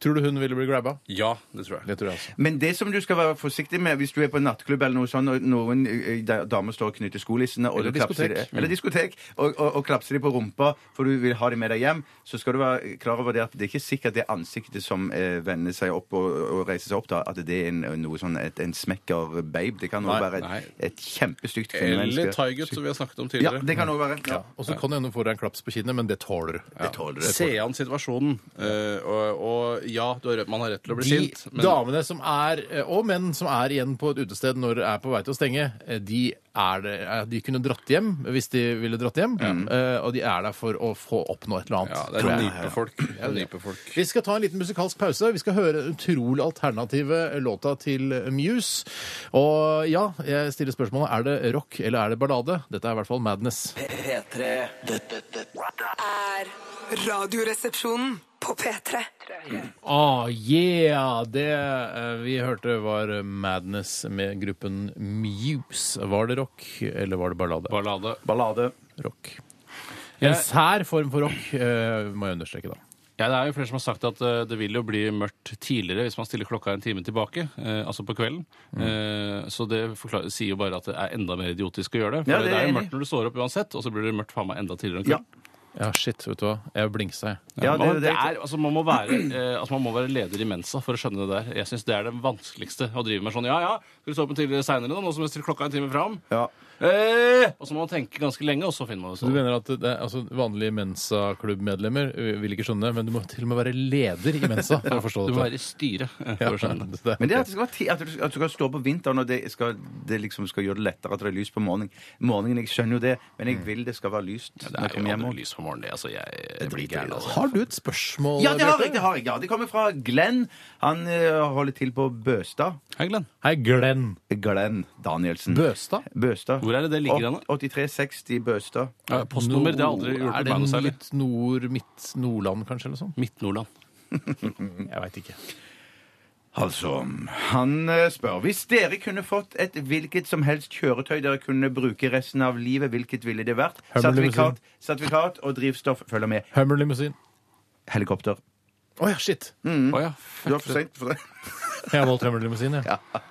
Tror du hun ville bli grabba? Ja, det tror jeg. Det tror jeg altså. Men det som du skal være forsiktig med hvis du er på en nattklubb eller noe sånt, og noen eh, da- damer står og knytter skolissene og Eller du klapser diskotek. de- Eller diskotek. Og, og, og klapser de på rumpa for du vil ha de med deg hjem, så skal du være klar over det at det er ikke sikkert det ansiktet som eh, vender seg opp og, og reiser seg opp, da, at det er en, noe sånn et, en smekker babe. Det kan Nei, også være nei. et, et kjempestygt Eller kvinnemenneske. Tigut, som vi har snakket om Ja, tidligere. det kan også være. Ja. Og så kan det hende hun får deg en klaps på kinnet, men det tåler du. Det tåler du. Se an situasjonen. eh, og, og ja, du har, rett- man har rett til å bli De sint, men damene som er, eh, og menn som er igjen på et utested når det er på vei til å stenge, eh, de, er det, eh, de kunne dratt hjem hvis de ville dratt hjem, eh, og de er der for å få oppnå et eller annet. ja, det tror er jeg. nypefolk. Det er nypefolk. Vi skal ta en liten musikalsk pause. Vi skal høre den utrolig alternative låta til Muse. Og ja, jeg stiller spørsmålet er det rock eller er det ballade. Dette er i hvert fall Madness. P3. Dette, dette Er radioresepsjonen på P3. Oh, yeah! Det eh, vi hørte, var Madness med gruppen Muse. Var det rock, eller var det ballade? Ballade. Ballade. Rock. En sær form for rock, eh, må jeg understreke, da. Ja, det er jo flere som har sagt at eh, det vil jo bli mørkt tidligere hvis man stiller klokka en time tilbake, eh, altså på kvelden. Mm. Eh, så det forklar- sier jo bare at det er enda mer idiotisk å gjøre det. For Ja, det, det er er jeg jo enig i. mørkt når du står opp uansett, og så blir det mørkt faen meg enda tidligere om Ja. kvelden. Ja, shit, vet du hva. Jeg blingsa, jeg. Ja, det, Man- det, det er, altså, man, må være, eh, altså, man må være leder i Mensa for å skjønne det der. Jeg syns det er det vanskeligste. Å drive med sånn Ja, ja, skal du stå opp en tidligere seinere, nå som jeg stiller klokka en time fram? ja. Eh, og så må man tenke ganske lenge, og så finner man det Så du sånn. mener at det er, altså, vanlige Mensa-klubbmedlemmer ø, vil ikke skjønne, men du må til og med være leder i Mensa for å forstå Du dette. må være i styret eh, for å skjønne det. Det er- Men det at, det skal være ti, at, du, at du skal stå på vinteren, og det, skal, det liksom skal gjøre det lettere at det er lys på morgenen. morgenen jeg skjønner jo det, men jeg vil det skal være lyst Mm. Det når er jeg jo kommer hjem. aldri også. lys på morgenen, det. Altså, jeg, jeg blir gæren. Altså. Har du et spørsmål? Ja, det har Bjarte? jeg! Det har jeg, ja. det kommer fra Glenn. Han eh, holder til på Bøstad. Hei, Glenn. Hei, Glenn Glenn Danielsen. Bøstad. Bøstad. Hvor er det det ligger hen, da? 8360 Bøstad. Ja, postnummer, det har aldri Nord- hjulpet Er meg noe det særlig. litt nord, midt Nordland, kanskje? eller sånn? Midt-Nordland. Jeg veit ikke. Altså, han eh, spør Hvis dere kunne fått et hvilket som helst kjøretøy dere kunne bruke resten av livet, hvilket ville det vært? Hummerlimousin. Sertifikat, sertifikat og drivstoff følger med. Hummer limousin. Helikopter. Å ja, shit! Å ja. Du er for sent for det. Jeg har valgt Hummer limousin, jeg.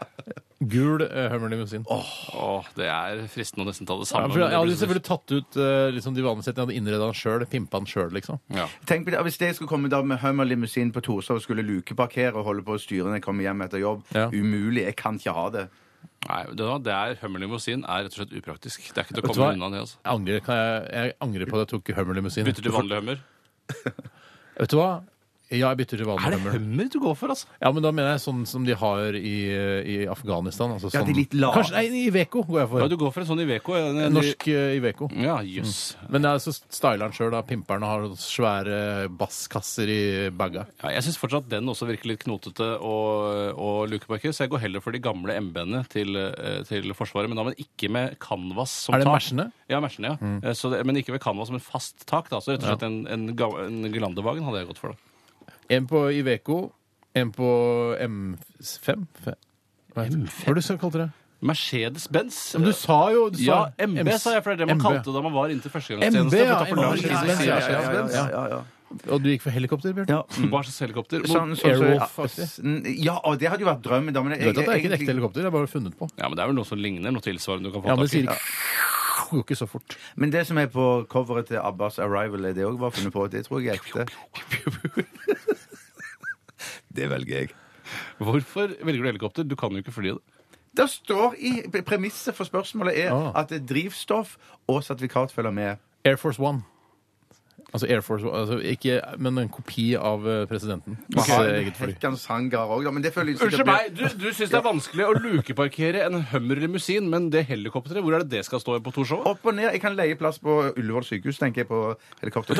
Gul eh, Hermione Musin. Åh, det er fristende å nesten ta det Ja, samme. for jeg men hadde det blir- selvfølgelig tatt ut eh, liksom de vanlige setningene. Jeg hadde innreda den sjøl, pimpa den sjøl, liksom. sånn- ja. Tenk på det, Hvis jeg skulle komme da med hummerlimousin på Torshov og skulle lukeparkere og holde på å styre når jeg kommer hjem etter jobb Ja. Umulig. Jeg kan ikke ha det. Nei, det, det er hummerlimousin er rett og slett upraktisk. Det er ikke til å Vet du komme hva? unna det. altså. Jeg angrer, kan jeg, jeg angrer på at jeg tok Hermione Musin. Bytter til vanlig hummer. Vet du hva? Ja, jeg bytter til vanlig Hummer. hummer du går for, altså? Ja, men da mener jeg sånn som de har i, i Afghanistan. Altså, Ja, sånn, de litt lave. Kanskje, nei, Iveco går jeg Ja, for. du går for en sånn Iveco. en- en- Norsk eh, Iveco. Ja, jøss. Men jeg så styler han sjøl, da. Pimperen har svære basskasser i baga. Ja, jeg syns fortsatt den også virker litt knotete og, og lukeparker, så jeg går heller for de gamle MB-ene til, eh, til Forsvaret. Men da men ikke med canvas som Er det tak. Mersene? Ja, Mersene, ja. Eh, Så det, men ikke med canvas som en fast tak. da, Så rett og slett en, en, ga- en Glandevagen hadde jeg gått for. da. En på Iveco, en på M5? Fe- Hva heter det? Hva er det du kalte det? Mercedes-Benz. Men du sa jo du sa, Ja, MB sa jeg, for det er det man MB. kalte det da man var MB, inntil førstegangstjeneste. ja. for da får MB, Lars Kiesel si ja, Mercedes. ja, ja, ja. Og du gikk for helikopter, Bjørn? Hva slags Mm. helikopter? Sånn, sånn, Airwolf-aktig. så- ja, og det hadde jo vært drømmen. Da, men Du vet at det er ikke et ekte egentlig- helikopter? Det er bare funnet på. Ja, men Det er vel noe som ligner noe tilsvarende du kan få Ja, men det tak sier i. ikke Det går ikke så fort. men det som er på coveret til Abbas Arrival, er det òg var funnet på? Det tror jeg er ekte. Det velger jeg. Hvorfor velger du helikopter? Du kan jo ikke fly det. Det står i Premisset for spørsmålet er Ah. at det er drivstoff og sertifikat følger med. Air Force One. Altså Air Force One, altså ikke, men en kopi av eh, presidenten. Hans Man har en eget fly. Hekkans hangar òg, da. Men det føler jeg sikkert Unnskyld blir- meg, du, du syns det er vanskelig å lukeparkere en Hummer limousin, men det helikopteret, hvor er det det skal stå på Torshov? Opp og ned. Jeg kan leie plass på Ullevål sykehus, tenker jeg på helikopter.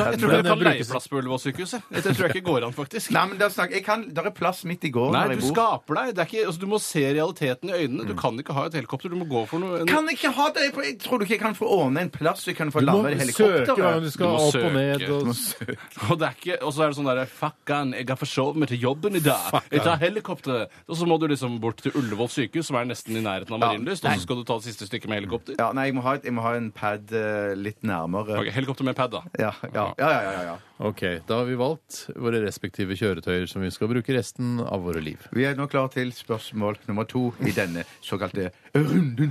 Jeg tror Men du det kan leie brukes- plass på Ullevål sykehus. jeg. Det tror jeg ikke går an, faktisk. Nei, men der, snakker, jeg kan, der er plass midt i gården Nei, der du jeg bor. skaper deg. Det er ikke, altså, du må se realiteten i øynene. Du kan ikke ha et helikopter. Du må gå for noe en, Kan jeg ikke ha det? Jeg tror du ikke jeg kan få ordne en plass så jeg kan få Du må landa i søke hva du helikopteret? skal Du må opp og ned. søke. Og... Og, det er ikke, og så er det sånn derre Fuckan, jeg har forsovet meg til jobben i dag. Jeg tar helikopteret. Og så må du liksom bort til Ullevål sykehus, som er nesten i nærheten av Marienlyst, og så skal du ta det siste stykket med helikopter. Ja, nei, jeg må ha, et, jeg må ha en pad eh, litt nærmere. Ok, helikopter med pad, da. Ja, ja, ja, ja, ja, ja. Ok, da har vi valgt våre respektive kjøretøyer som vi skal bruke resten av våre liv. Vi er nå klar til spørsmål nummer to i denne såkalte runden.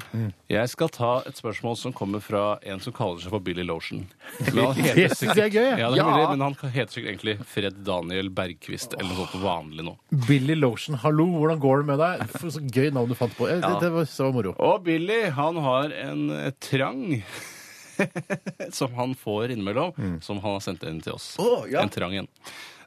Jeg skal ta et spørsmål som kommer fra en som kaller seg for Billy Lotion. Men han Det syns heter jeg er sikkert gøy! ja, jeg. det er mulig, men han heter sikkert egentlig Fred Daniel Bergquist eller noe sånt vanlig nå. Billy Lotion, hallo, hvordan går det med deg? For så gøy navn du fant på. Eh, Det, det var så moro. Og Billy, han har en eh, trang som han får innimellom, som han har sendt inn til oss. Mm. Å, ja. En trang en.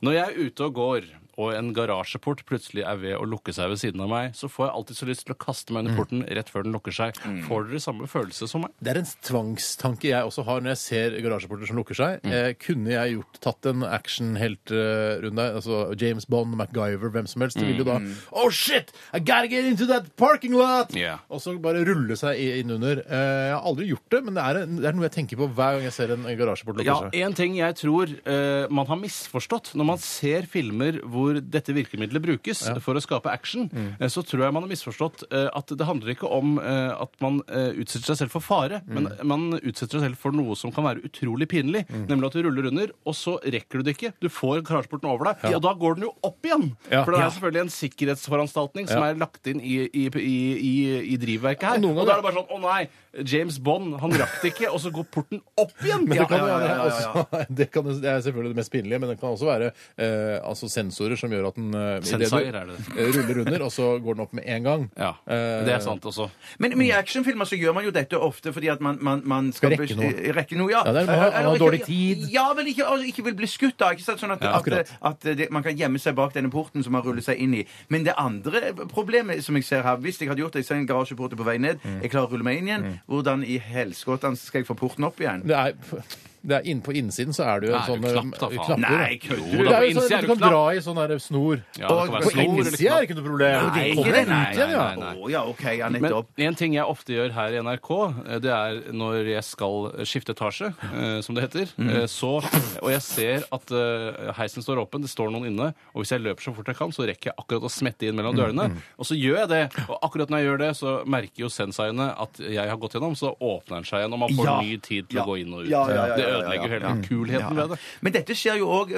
Når jeg er ute og går, og en garasjeport plutselig er ved å lukke seg ved siden av meg, så får jeg alltid så lyst til å kaste Mm. meg under porten rett før den lukker seg. Får dere samme følelse som meg? Det er en tvangstanke jeg også har når jeg ser garasjeporter som lukker Mm. seg. Eh, kunne jeg gjort, tatt en actionheltrunde, altså James Bond, MacGyver, hvem som helst, det vil jo da Mm. Oh shit! I gotta get into that parking lot! Ja. Og så bare rulle seg i- innunder. Eh, jeg har aldri gjort det, men det er, en, det er noe jeg tenker på hver gang jeg ser en garasjeport lukke Ja, seg. En ting jeg tror eh, man har misforstått når man ser filmer hvor dette virkemidlet brukes for å skape action, Mm. eh, så tror jeg man har misforstått eh, at det handler ikke om eh, at man eh, utsetter seg selv for fare, Mm. men man utsetter seg selv for noe som kan være utrolig pinlig, Mm. nemlig at du ruller under, og så rekker du det ikke. Du får garasjeporten over deg, og da går den jo opp igjen! Ja. For det Ja. er selvfølgelig en sikkerhetsforanstaltning som Ja. er lagt inn i, i, i, i, i drivverket her. Og noen Og da ganger- er det bare sånn Å nei, James Bond, han rakk det ikke, og så går porten opp igjen! Men det, kan jo ja, ja, være ja, ja, ja. også- det, kan, det er selvfølgelig det mest pinlige, men det kan også være eh, altså sensorer som gjør at den eh, i det du- Sensorer er det. eh, ruller under, og så går den opp med en gang. Ja, Eh, det er sant også. Men, men i actionfilmer så gjør man jo dette ofte fordi at man, man, man eh, Skal rekke noe. Rekke noe ja. Ja, det er- man har- man har Eller ikke- dårlig tid. Ja, men ikke, altså, ikke vil bli skutt, da. Ikke sant? Sånn at, Ja, at, akkurat. at det, man kan gjemme seg bak denne porten som man ruller seg inn i. Men det andre problemet som jeg ser her Hvis jeg hadde gjort det, jeg ser en garasjeport på vei ned, Mm. jeg klarer å rulle meg inn igjen, hvordan i helskottene skal jeg få porten opp igjen? Det er, det er inn, på innsiden så er det jo en sånn Nei, det er jo eh, knapp, da, faen. knapper, Nei, kødder Det du? da, er på jo sånn at innsiden er Du det kan dra i sånn her snor. Ja, det kan være På snor eller innsiden er det knapp. ikke noe problem. det er Du ikke kommer det, deg nei, ut igjen, ja. nei, nei. Å ja, OK, ja, Men nettopp. en ting jeg ofte gjør her i NRK, eh, det er når jeg skal skifte etasje, eh, som det heter, Mm. eh, så, og jeg ser at eh, heisen står åpen, det står noen inne, og hvis jeg løper så fort jeg kan, så rekker jeg akkurat å smette inn Mm, mellom dørene, og så gjør jeg det, og akkurat når jeg gjør det, så merker jo senseiene at jeg har gått gjennom, så åpner den seg igjen, og man får Ja. ny tid til Ja. å gå inn og ut. Ja, ja, ja, ja, Det ja, Mm. ja, ja. ødelegger jo hele kulheten ved det. Men dette skjer jo òg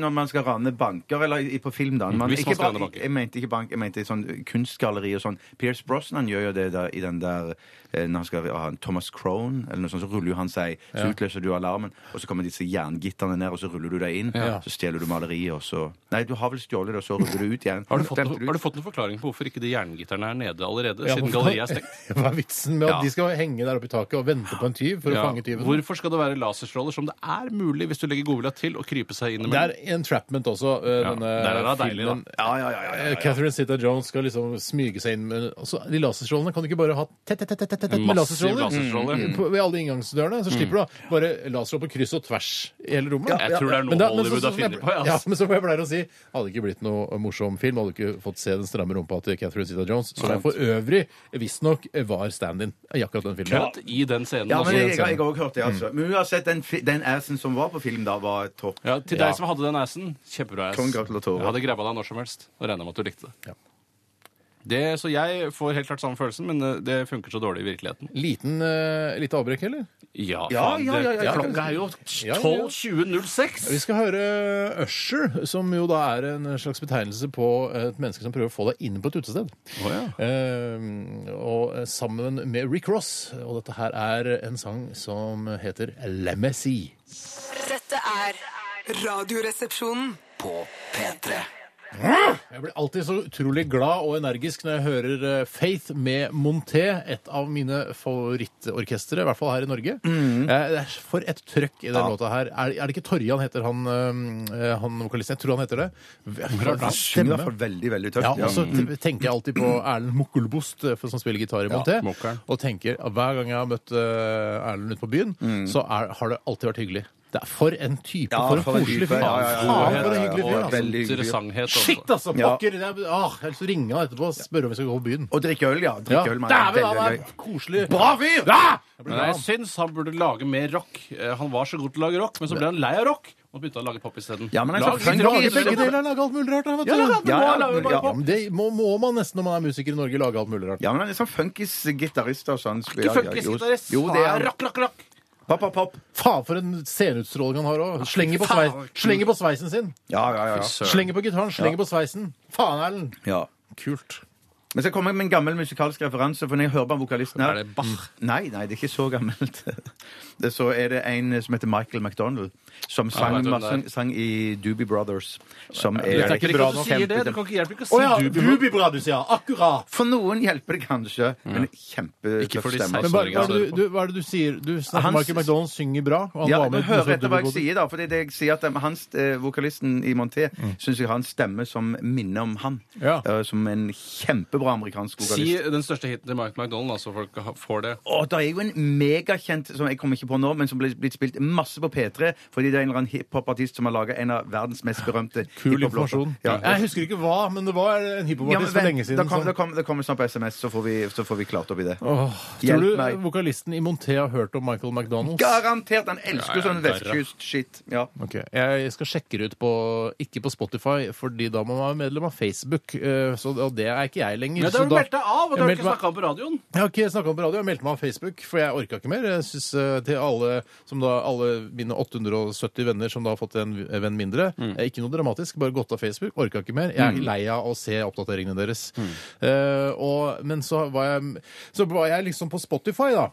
når man skal rane banker, eller i- på film. da man, Mm. hvis man ikke skal rane ba- banker. Jeg mente ikke bank, jeg mente sånn kunstgalleri og sånn. Pierce Brosnan gjør jo det der, i den der eh, Når han skal ha en Thomas Crone, eller noe sånt, så ruller jo han seg, så utløser du alarmen, og så kommer disse jerngitterne ned, og så ruller du deg inn, så stjeler du maleriet, og så Nei, du har vel stjålet det, og så ruller du ut igjen. Har du, fått, Glemte noe- har du fått noen forklaring på hvorfor ikke de jerngitterne er nede allerede? Ja, siden hvorfor- galleriet er stengt? Hva er vitsen med at Ja. de skal henge der oppe i taket og vente på en tyv for Ja. å fange tyven? Hvorfor skal det være laserstråler som det er mulig hvis du legger godvilja til å krype seg inn i Det er entrapment også, eh, Ja, denne der er det deilig, filmen. da. Ja, ja, ja, ja, ja, ja. Eh, Catherine Zeta-Jones skal liksom smyge seg inn med altså, De laserstrålene kan du ikke bare ha tett, tett, tett, tett, tett med Massiv laserstråler. laserstråler. Mm. På- Ved alle inngangsdørene. Så slipper du da bare laser opp på kryss og tvers i hele rommet. Jeg tror det er noe Men da- men så- Hollywood så- har som jeg- funnet på, ja, altså. Ja, men som jeg pleier å si, hadde det ikke blitt noe morsom film, hadde du ikke fått se den stramme rumpa til Catherine Zeta-Jones, som jeg for øvrig visstnok var stand-in i akkurat den filmen. Akkurat i den scenen. altså. Ja, men også. jeg, jeg, jeg har også hørt det, altså. Men uansett, den, fi- den assen som var på film da, var topp. Mm. Ja, til deg som hadde den assen, kjempebra ass. Kong gratulerer. Jeg hadde grabba deg når som helst. Og regner med at du likte det. det. Så jeg får helt klart samme følelsen, men eh, det funker så dårlig i virkeligheten. Liten, eh, lite avbrekk, eller? Ja, Ja, faen, ja, ja, det- ja, ja. Klokka er jo Ja, ja. 12.20.06! Vi skal høre Usher, som jo da er en slags betegnelse på et menneske som prøver å få deg inn på et utested. Å, ja. Eh, og eh, sammen med Rick Ross. Og dette her er en sang som heter Lemmecy. Dette er Radioresepsjonen. På P3. Jeg blir alltid så utrolig glad og energisk når jeg hører eh, Faith med Monté, et av mine favorittorkestre, i hvert fall her i Norge. Mm. Eh, det er for et trøkk i den låta her. Er, er det ikke Torjan heter han, eh, han vokalisten? Jeg tror han heter det. Han synger i hvert fall veldig, veldig tøft. Ja, og altså, så t- tenker jeg alltid på Erlend Mokkelbost, eh, for- som spiller gitar i Monté. Mokkeren. og tenker at hver gang jeg har møtt eh, Erlend ute på byen, så er, har det alltid vært hyggelig. Det er for en type, Mm. Ja, for en for en koselig type, fyr. ja, ja, ja, Faen, ja, ja, for en ja, hyggelig ja, fyr. ja, altså. veldig. Interessanghet også. Shit, altså! Ja. Pokker! Det er, ah, jeg har lyst til å ringe han etterpå og spørre om vi skal gå på byen. Og drikke øl, ja. Ja. Drikke øl, man. Dæven, Veldig, han veldig er koselig! Bra fyr! Men jeg syns han burde lage mer rock. Eh, Han var så god til å lage rock, men så ble han lei av rock og begynte å lage pop isteden. Ja, men han er så Lag flink litt rock, i Lager så- begge deler, lager alt mulig rart. han, vet du. Ja, ja, Ja, ja, ja, men- ja, ja. Ja, men det må, må man nesten når man er musiker i Norge, lage alt mulig rart. Ja, men han er sånn funkis-gitarist og sånn. Ikke funkisgitarist. Jo, det er Rock, rock, rock. Pop, pop, pop. Faen, for en sceneutstråling han har òg. Slenger, på Faen. sveis- slenger på sveisen sin. Ja, ja, ja. ja. Søren. Slenger på gitaren, slenger på sveisen. Faen, Erlend! ja. Kult. Men så kommer jeg med en gammel musikalsk referanse, for når jeg hører på Er vokalisten her Mm. det Bach? Nei, nei, det er ikke så gammelt. Det, så er det en som heter Michael McDonald, som sang, vet du hvem det er. sang, sang i Doobie Brothers. Som Det er, er ikke bra nok. Kjempe- Det. det kan ikke hjelpe ikke å si Å ja, Doobie Brothers. Dubibradus, ja. Akkurat. For noen hjelper det kanskje, men Mm. Ikke kjempetøff for de stemme. Men Altså, hva, hva, er det Norge, du, du, hva er det du sier? Du snakker Han- Michael McDonald synger bra. Og han Ja, var men med Hør etter hva jeg sier, da. For det er det jeg sier at um, hans, eh, Vokalisten i Monté syns jeg har en stemme som minner om han. Mm. Ja. Eh, som en kjempebra amerikansk Si vokalist. den største hiten til Mark McDonald, da, så folk ha- får det. Og det er jo en megakjent som jeg kommer ikke på nå, men som ble blitt spilt masse på P3 fordi det er en eller annen hiphopartist som har laga en av verdens mest berømte Kul hiphop-låter. informasjon. Ja. Jeg husker ikke hva, men det var en Ja, men hiphopartist for vent, lenge Da siden. sånn? kommer som- det kom, det kommer snart på SMS, så får vi, så får vi klart opp i det. Tror Hjelp du meg. vokalisten i Monté har hørt om Michael McDonald? Garantert! Han Ja, elsker jo ja, sånn der, ja. vestkyst-shit. Ja. Ok, Jeg skal sjekke det ut på Ikke på Spotify, fordi da må man være medlem av Facebook. eh, Så, og det er ikke jeg lenger. Ja, så da da- meldte jeg av, og du Jeg har meldte ikke meg- snakka om på radioen. Jeg har ikke snakka om på radio, jeg meldte meg av Facebook, for jeg orka ikke mer. Jeg synes, eh, til alle, som da, alle mine 870 venner som da har fått en venn mindre eh, Ikke noe dramatisk, bare gått av Facebook. Orka ikke mer. Jeg er lei av å se oppdateringene deres. Eh, og, men så var, jeg, så var jeg liksom på Spotify, da.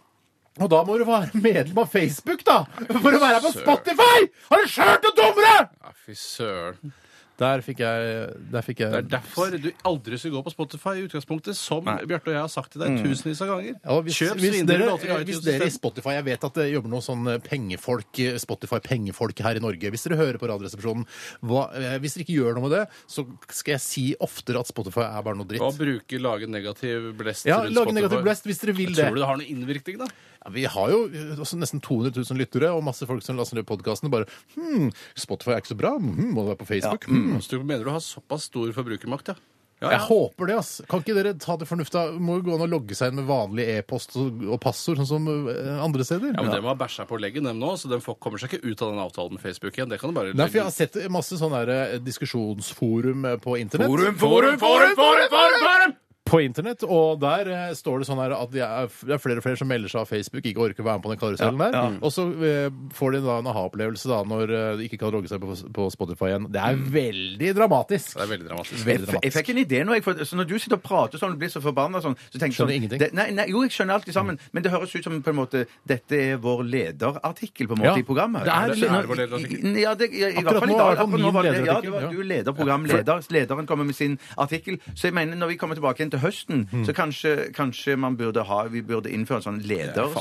Og da må du være medlem av Facebook, da! For å være på Spotify! Har du skjørt det dummere?! Ja, fy søren. Der fikk jeg, der fikk jeg Det er derfor du aldri skal gå på Spotify i utgangspunktet, som Bjarte og jeg har sagt til deg tusenvis av ganger. Ja, hvis, Kjøp hvis, svindyre dere, låter i hvis iTunes dere i isteden. Spotify Jeg vet at det jobber noen sånn eh, pengefolk eh, Spotify-pengefolk her i Norge. Hvis dere hører på Radioresepsjonen, hva, eh, hvis dere ikke gjør noe med det, så skal jeg si oftere at Spotify er bare noe Og dritt. bruke lage negativ blest Ja, rundt Lag Spotify. negativ blest hvis dere vil det. Tror du det har noen innvirkning, da? Ja, vi har jo eh, også nesten 200 000 lyttere og masse folk som laster ned podkasten og bare Hm, Spotify er ikke så bra. Hm, må det være på Facebook? Hm. Så du mener du har såpass stor forbrukermakt, ja? Ja, Jeg håper det, ass. Kan ikke dere ta til fornufta? Må jo gå an å logge seg inn med vanlig e-post og og passord, sånn som eh, andre steder. Ja, men De har bæsja på leggen, dem nå, så de får- kommer seg ikke ut av den avtalen med Facebook igjen. Det kan du bare Nei, for jeg har sett masse sånne her, eh, diskusjonsforum eh, på internett. Forum, forum, forum, forum, forum, forum! på internett, og der eh, står det sånn her at det er, det er flere og flere som melder seg av Facebook, ikke orker å være med på den karusellen der. Og så eh, får de da en aha-opplevelse da når eh, de ikke kan logge seg på, på Spotify igjen. Det er veldig dramatisk. Mm. Det er veldig dramatisk. Veldig Jeg, jeg dramatisk. fikk en idé nå. Jeg, for, så når du sitter og prater sånn og blir så forbanna sånn, så tenker jeg Skjønner sånn, ingenting. Mm. Det, nei, nei, jo, jeg skjønner alt i sammen, men det høres ut som på en måte Dette er vår lederartikkel på en måte Ja, i programmet. det er- Nå- er det vår lederartikkel? Ja, det, i, i, Akkurat hvert fall i nå er dag. det Akkurat nå min var det, ja, lederartikkel, det var ja. du leder, programleder. Lederen kommer med sin artikkel. Så jeg mener, når vi kommer tilbake igjen til høsten, Mm. så kanskje, kanskje man burde ha Vi burde innføre en sånn Faen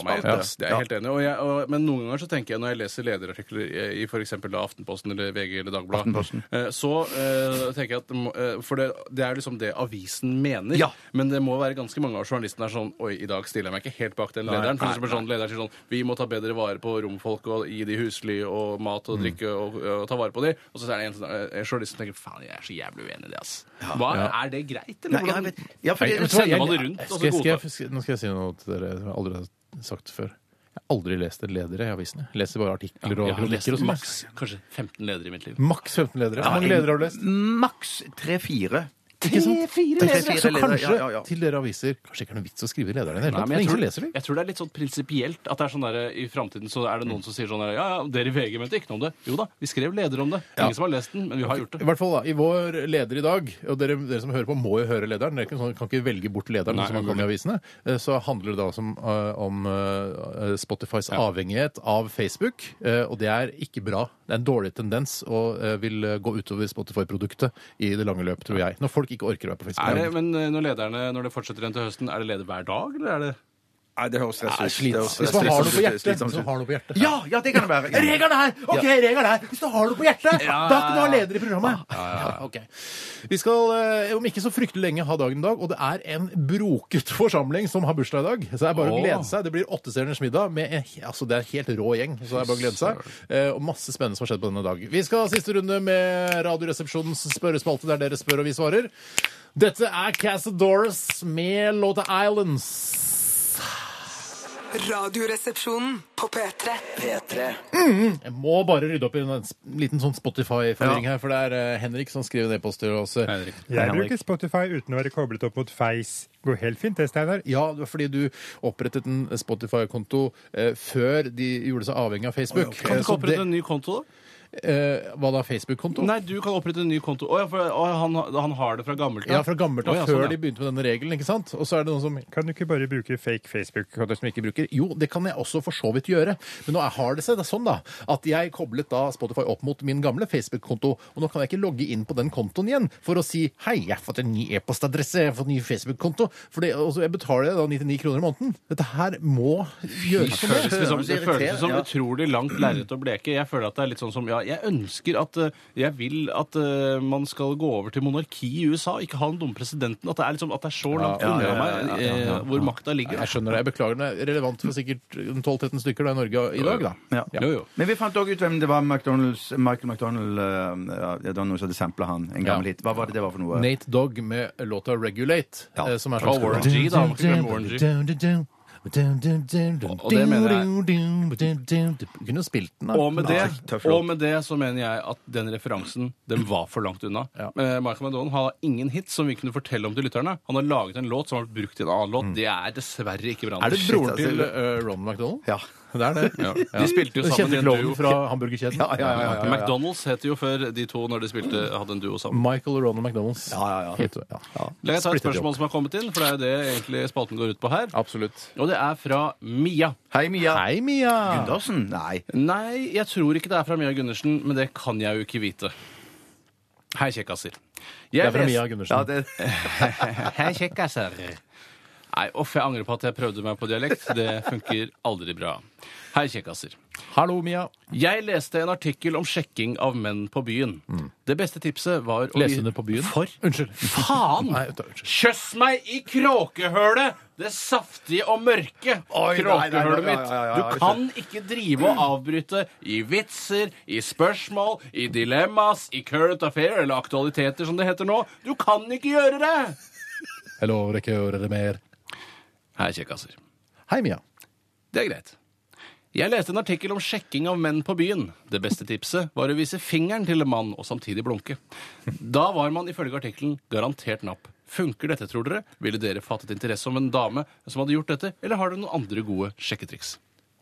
meg, lederspalte. ass, det er jeg helt enig i. Og jeg- og- Men noen ganger så tenker jeg, når jeg leser lederartikler i- i f.eks. Aftenposten eller VG eller Dagbladet, Aftenposten. eh, så eh, tenker jeg at det må- eh, For det, det er jo liksom det avisen mener. Ja. Men det må være ganske mange av journalistene er sånn Oi, i dag stiller jeg meg ikke helt bak den lederen. For eksempel sånn, lederen sier sånn Vi må ta bedre vare på romfolk og gi de husly og mat og Mm. drikke og, og ta vare på de. Og så er det en sånn, eh, journalist som tenker Faen, jeg er så jævlig uenig i det, ass. Hva, Er det greit, eller? Nei, jeg vet- ja, for Nei, det- men sender jeg- man det rundt, altså, og så skal jeg- skal jeg- godtar. skal jeg- Nå skal jeg si noe til dere som jeg aldri har sagt før. Jeg har aldri lest en leder i avisene. Jeg leser bare artikler og Jeg har lest kronikker og sånn. maks kanskje 15 ledere i mitt liv. Maks 15 ledere. Hvor mange en- ledere har du lest? liksom Maks tre-fire. Ikke sant? ledere. Så kanskje Ja, ja, ja. til dere aviser Kanskje ikke er noe vits å skrive lederne i det hele Nei, tatt. men for jeg, Ingen som tror, leser dem. jeg tror det er litt sånn prinsipielt at det er sånn der, i framtiden så er det noen som sier sånn der, ja, ja, dere i VG mente ikke noe om det. Jo da, vi skrev leder om det. Ingen som har lest den, men vi har gjort I det. hvert fall da, i vår leder i dag, og dere, dere som hører på, må jo høre lederen. Dere kan, sånn- kan ikke velge bort lederen Nei, som har kommet i avisene. Eh, Så handler det da også om, eh, om eh, Spotifys avhengighet av Facebook, eh, og det er ikke bra. Det er en dårlig tendens og eh, vil eh, gå utover Spotify-produktet i det lange løp, tror jeg. Når folk ikke orker å være på Facebook. Er det, men eh, når lederne, når det fortsetter igjen til høsten, er det leder hver dag, eller er det Nei, det høres Det er stress slitsomt. Hvis man har noe på hjertet, så har noe på hjertet. Ja, ja, det kan det være. Regelen er her! Ok, regelen er her! Hvis du har noe på hjertet, Ja. da kan du ha leder i programmet! Ja, ok. Vi skal eh, om ikke så fryktelig lenge ha dagen i dag, og det er en broket forsamling som har bursdag i dag. Så det er bare å Åh. glede seg. Det blir åttestjerners middag med en, altså det er en helt rå gjeng, så det er bare å glede seg. Eh, Og masse spennende som har skjedd på denne dag. Vi skal ha siste runde med Radioresepsjonens spørrespalte, der dere spør og vi svarer. Dette er Cazadores med låta Islands. Radioresepsjonen på P3. P3. Jeg må bare rydde opp i en liten sånn Spotify-forvirring her, for det er eh, Henrik som skriver en e-post til oss. Henrik? Jeg bruker Spotify uten å være koblet opp mot Face. Går helt fint det, Steinar. Ja, det var fordi du opprettet en Spotify-konto eh, før de gjorde seg avhengig av Facebook. Kan du Eh, ikke så opprette det- en ny konto, da? eh, Hva da? Facebook-konto? Nei, du kan opprette en ny konto. Å ja, for å, han, han har det fra gammelt Ja, fra gammelt av, Å, ja, før sånn, de ja. begynte med denne regelen. ikke sant? Og så er det noen som Kan du ikke bare bruke fake Facebook? akkurat det som jeg ikke bruker. Jo, det kan jeg også for så vidt gjøre. Men nå har det seg det er sånn da, at jeg koblet da Spotify opp mot min gamle Facebook-konto, og nå kan jeg ikke logge inn på den kontoen igjen for å si hei, jeg har fått en ny e-postadresse, jeg har fått en ny Facebook-konto. For det, og så jeg betaler da 99 kroner i måneden. Dette her må gjøres noe Det føles, med. liksom, det føles irriterende, som ja. utrolig langt lerret å bleke. Jeg føler at det er litt sånn som ja, Jeg ønsker at eh, Jeg vil at eh, man skal gå over til monarki i USA, ikke ha den dumme presidenten. At det er, liksom, at det er så langt ja, ja, unna ja, meg ja, ja, eh, ja. hvor makta ligger. Jeg skjønner det. Jeg beklager. Det er relevant for sikkert 12-13 stykker da, i Norge i dag, da. Ja. Jo, jo. Men vi fant òg ut hvem det var McDonald's, Michael McDonald eh, ja, Det var noen som hadde sampla han en gammel Ja. hit. Hva var det det var for noe? Nate Dogg med låta 'Regulate'. Ja. eh, Som er Og Warren G, da. Man kan ikke glemme Warren G. Og- og det mener jeg Du kunne spilt den, da. Og med, det, tøff låt. og med det så mener jeg at den referansen den var for langt unna. Ja. Eh, Michael Madonna har ingen hit som vi kunne fortelle om til lytterne. Han har laget en låt som har vært brukt i en annen låt. Det er dessverre ikke bra. Mm. Er det nok. broren altså. til eh, Ron McDonald? Ja. Det er det. Ja. De spilte jo sammen Kjente i en duo. klovnen fra hamburgerkjeden. Ja, ja, ja, ja, ja. McDonald's het jo før de to når de spilte, hadde en duo sammen. Michael og Ronald McDonald's. Ja, ja, ja. Heter, ja. La jeg ta et Splittet de opp. spørsmål som har kommet inn, for det er jo det egentlig spalten går ut på her. Absolutt. Og det er fra Mia. Hei, Mia. Hei, Mia! Gundersen? Nei. Nei, jeg tror ikke det er fra Mia Gundersen, men det kan jeg jo ikke vite. Hei, kjekkaser. Jeg Det er fra les- Mia Ja, Gundersen. det, Hei, kjekkaser. Nei, uff, jeg angrer på at jeg prøvde meg på dialekt. Det funker aldri bra. Hei, kjekkaser. Hallo, Mia. Jeg leste en artikkel om sjekking av menn på byen. Det beste tipset var å Lese det Mm. på byen? For Unnskyld. faen! Nei, ta- unnskyld. Kjøss meg i kråkehølet! Det saftige og mørke Oi, nei, nei, nei, kråkehølet ja, mitt. ja, ja, ja, Du kan ikke drive og avbryte i vitser, i spørsmål, i dilemmas, i current affair eller aktualiteter, som det heter nå. Du kan ikke gjøre det! Jeg lover ikke å gjøre det mer. Hei, kjekkaser. Hei, Mia. Det er greit. Jeg leste en artikkel om sjekking av menn på byen. Det beste tipset var å vise fingeren til en mann og samtidig blunke. Da var man ifølge artikkelen garantert napp. Funker dette, tror dere? Ville dere fattet interesse om en dame som hadde gjort dette, eller har dere noen andre gode sjekketriks?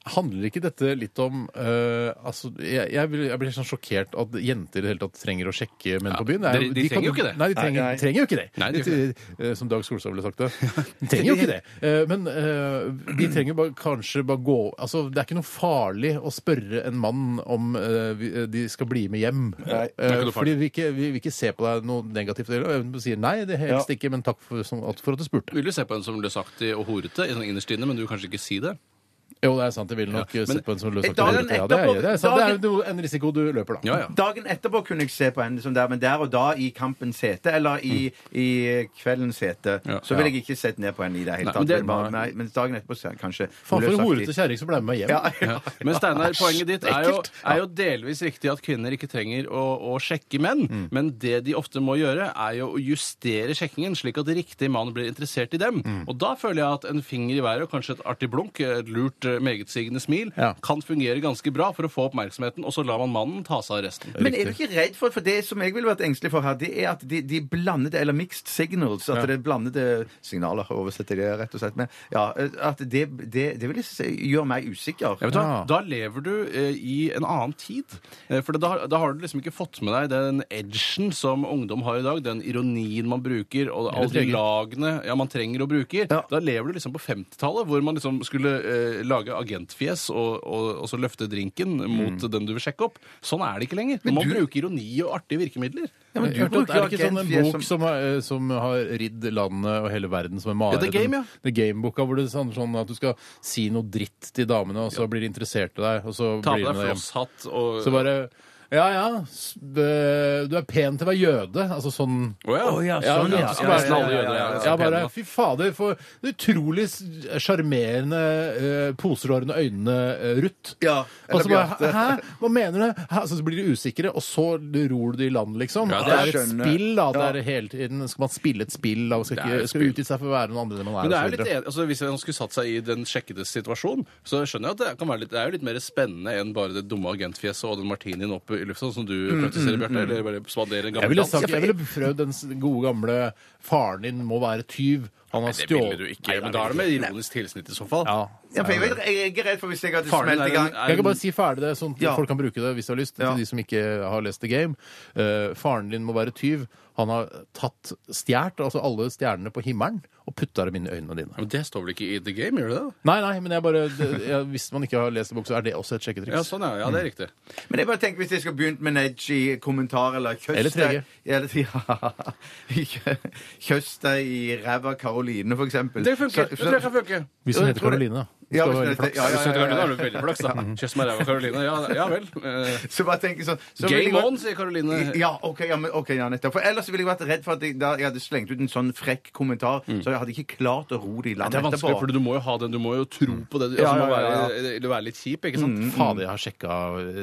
Handler ikke dette litt om eh, altså, jeg, jeg, blir, jeg blir sånn sjokkert at jenter i det hele tatt trenger å sjekke menn Ja, på byen. Det de- de kan- trenger jo ikke det. Nei, de trenger, Nei, nei. trenger jo ikke det. Nei, de de, gjør eh, som Dag Solstad ville sagt det. De trenger jo ikke det. Eh, men eh, de trenger bare, kanskje bare gå Altså, Det er ikke noe farlig å spørre en mann om eh, vi- de skal bli med hjem. Nei, Eh, ikke noe farlig. fordi vi, ikke, vi vil ikke se på deg noe negativt. Eller og sier nei, det helst ikke, men takk for, som, at- for at du spurte. Ville du se på en som løsaktig og horete i sånn innerst inne, men du vil kanskje ikke si det? Jo, det er sant. Det vil nok eh, se på en som løsaktig dagen rødhette. Ja, det er, etterpå- det er, sant. det er dagen- jo en risiko du løper, da. Ja, ja. Dagen etterpå kunne jeg se på en som der, men der og da, i kampens hete, eller i, i kveldens hete, Ja. så ville jeg ikke sett ned på en i det hele Nei, tatt. men det- Men, bare- nei, mens dagen etterpå ser jeg kanskje Faen, for en løsaktig. horete kjerring som ble med meg hjem. Ja, ja. Ja. Men Steinar, poenget ditt er jo, Ekkelt. er jo delvis riktig at kvinner ikke trenger å, å sjekke menn, Mm. men det de ofte må gjøre, er jo å justere sjekkingen slik at riktig mann blir interessert i dem. Mm. Og da føler jeg at en finger i været og kanskje et artig blunk, et lurt, eh, megetsigende smil, Ja. kan fungere ganske bra for å få oppmerksomheten, og så lar man mannen ta seg av resten. Men er du ikke redd for For det som jeg ville vært engstelig for her, det er at de, de blandede, eller mixed signals At det er blandede signaler, oversetter jeg det rett og slett med. Ja, at det, det, det vil si- gjøre meg usikker. Ja, vet du hva? Ja. Da lever du eh, i en annen tid. Eh, for da, da har du liksom ikke fått med deg den edgen som ungdom har i dag, den ironien man bruker, og alle de trenger. lagene ja, man trenger og bruker. Ja. Da lever du liksom på 50-tallet, hvor man liksom skulle eh, lage agentfjes og, og, og så løfte drinken mot den du vil sjekke opp. Sånn er det ikke lenger. Man du- bruker ironi og artige virkemidler. Ja, men du Jeg hørte at bruker det er det ikke sånn en agentfjes bok som- som, har, eh, som har ridd landet og hele verden som en mare? Ja, The Game, ja. Den- The Game-boka hvor det er sånn, sånn at du skal si noe dritt til damene, og så blir de interessert i deg, og så Ta blir de på deg med deg hjem. flosshatt og Så bare Ja ja, s- det- du er pen til å være jøde. Altså sånn Å ja. sånn, ja. du skal Ja, være- ja, ja, ja, ja, ja. Ja, bare Fy fader, for en utrolig s- sjarmerende, eh, poserhårende øynene, eh, Ruth. Ja, Og så bare Bjarte. Hæ, hva mener du? Hæ? Så blir de usikre, og så ror du det i land, liksom. Ja, At det det, er- er et skjønner. spill, da. at Det er hele tiden, skal man spille et spill da, og skal, Det er et ikke, skal spill. utgi seg for å være noen andre enn man er? Men det er og jo så litt, videre. en- altså Hvis han skulle satt seg i den sjekkedes situasjon, så skjønner jeg at det kan være litt, det er jo litt mer spennende enn bare det dumme agentfjeset og den martinien oppe i lufta, sånn som du praktiserer, Bjarte. Eller bare spadere en gammel jeg ville, dans. sagt, jeg ville prøvd den s- gode gamle faren din må være tyv. Han har Det ville stjålet du ikke. Men da er det med ironisk tilsnitt i så fall. Ja. Ja, for jeg, vet, jeg er ikke redd for hvis jeg hadde Faren din smelt i er en- gang er en- Jeg kan bare si ferdig det, sånn at Ja. folk kan bruke det hvis de har lyst. Ja. Til de som ikke har lest The Game. Eh, faren din må være tyv. Han har tatt stjålet altså alle stjernene på himmelen og putta dem inn i øynene dine. Men det står vel ikke i The Game, gjør det det? Nei, nei, men jeg bare, det, jeg, hvis man ikke har lest en bok, så er det også et sjekketriks. Ja, sånn ja. ja, det er riktig. Men jeg bare tenker hvis jeg skulle begynt med nedge i kommentar eller kjøst Eller trege. Eller, ja, kjøst deg i ræva Karoline, for eksempel. Det funker. Det Så- så- tror jeg kan funke. Hvis hun heter Karoline, da. Ja, hvis Skal være hun heter- flaks. ja, ja, Så ja, Karoline ja, har du veldig flaks, da. Kjøss meg ræva, Karoline. Ja, ja vel. Eh, Så bare tenker jeg sånn så vil jeg Game bare- on, sier Eh. Karoline. Ja, ok, ja, men, ok, ja, nettopp. For ellers ville jeg vært redd for at jeg, da jeg hadde slengt ut en sånn frekk kommentar, Mm. så jeg hadde ikke klart å ro det i land Det er vanskelig, for du må jo ha den, du må jo tro på det. Altså, Ja, må ja, ja, være, eller være litt kjip, ikke sant? Fader, jeg har sjekka,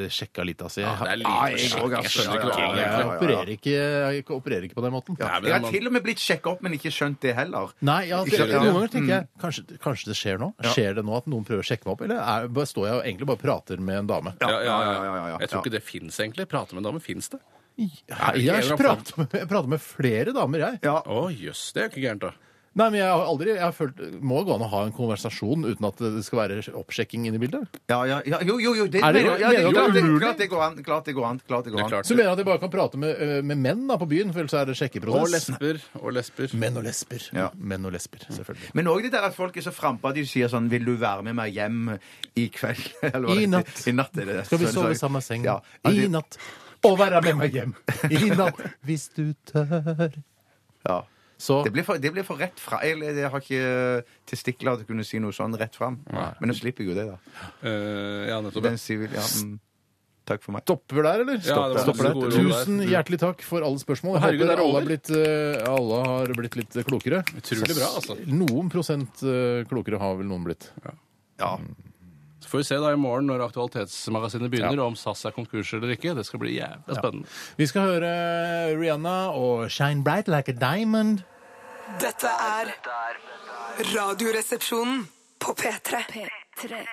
sjekka litt, altså. Jeg, Ja, det er litt Nei, jeg, sjekk. Jeg skjønner ikke noe av det. jeg opererer ikke, jeg opererer ikke på den måten. Nei, men Jeg det har må- til og med blitt sjekka opp, men ikke skjønt det heller. Nei, ja, det, Ikke Mm. sant? noen ganger tenker jeg kanskje, kanskje det skjer nå? Skjer det nå at noen prøver å sjekke meg opp? Eller er, bare står jeg og egentlig bare prater med en dame? Ja, ja, ja, ja, ja, ja. Jeg tror ikke det fins, egentlig. Prate med en dame, fins det? Nei, jeg, har pratet med, jeg prater med flere damer, jeg. Ja. Å jøss, det er jo ikke gærent, da. Nei, men jeg har aldri jeg har følt, Må det gå an å ha en konversasjon uten at det skal være oppsjekking inne i bildet? Ja, ja, ja, jo, jo, jo, det Er det- mener jeg. Ja, mener du at det er klart det- umulig? Klart det går an. Klart det går an. Klart det går Det er an. klart. Så mener jeg at jeg bare kan prate med, eh, med menn da, på byen, for ellers er det Og sjekkeprosess. lesber. Og lesber. Menn og lesber. Ja. Menn og lesber, selvfølgelig. Men òg det der at folk er så frampå at de sier sånn 'Vil du være med meg hjem i kveld?' Eller hva I det- natt. I natt er det det. Skal vi Så- sove så- i samme seng Ja. i det- natt? Og være med meg hjem i natt, hvis du tør. Ja. Så Det blir, for, det blir for rett fra Jeg, jeg har ikke testikler til å kunne si noe sånn rett fram. Men nå slipper jeg jo det, da. Eh, ja, nettopp. Den sier vel ja, mm, Takk for meg. Stopper vi der, eller? det var Stopper så der. gode råd der. Tusen hjertelig takk for alle spørsmål. Jeg håper Herregud, er det alle har, over? blitt, eh, alle har blitt litt klokere. Utrolig bra, altså. Noen prosent eh, klokere har vel noen blitt. Ja. Så får vi se da i morgen når Aktualitetsmagasinet begynner, om SAS er konkurs eller ikke. Det skal bli jævlig spennende. Vi skal høre eh, Rihanna og Shine Bright Like a Diamond. Dette er Radioresepsjonen på P3. P3.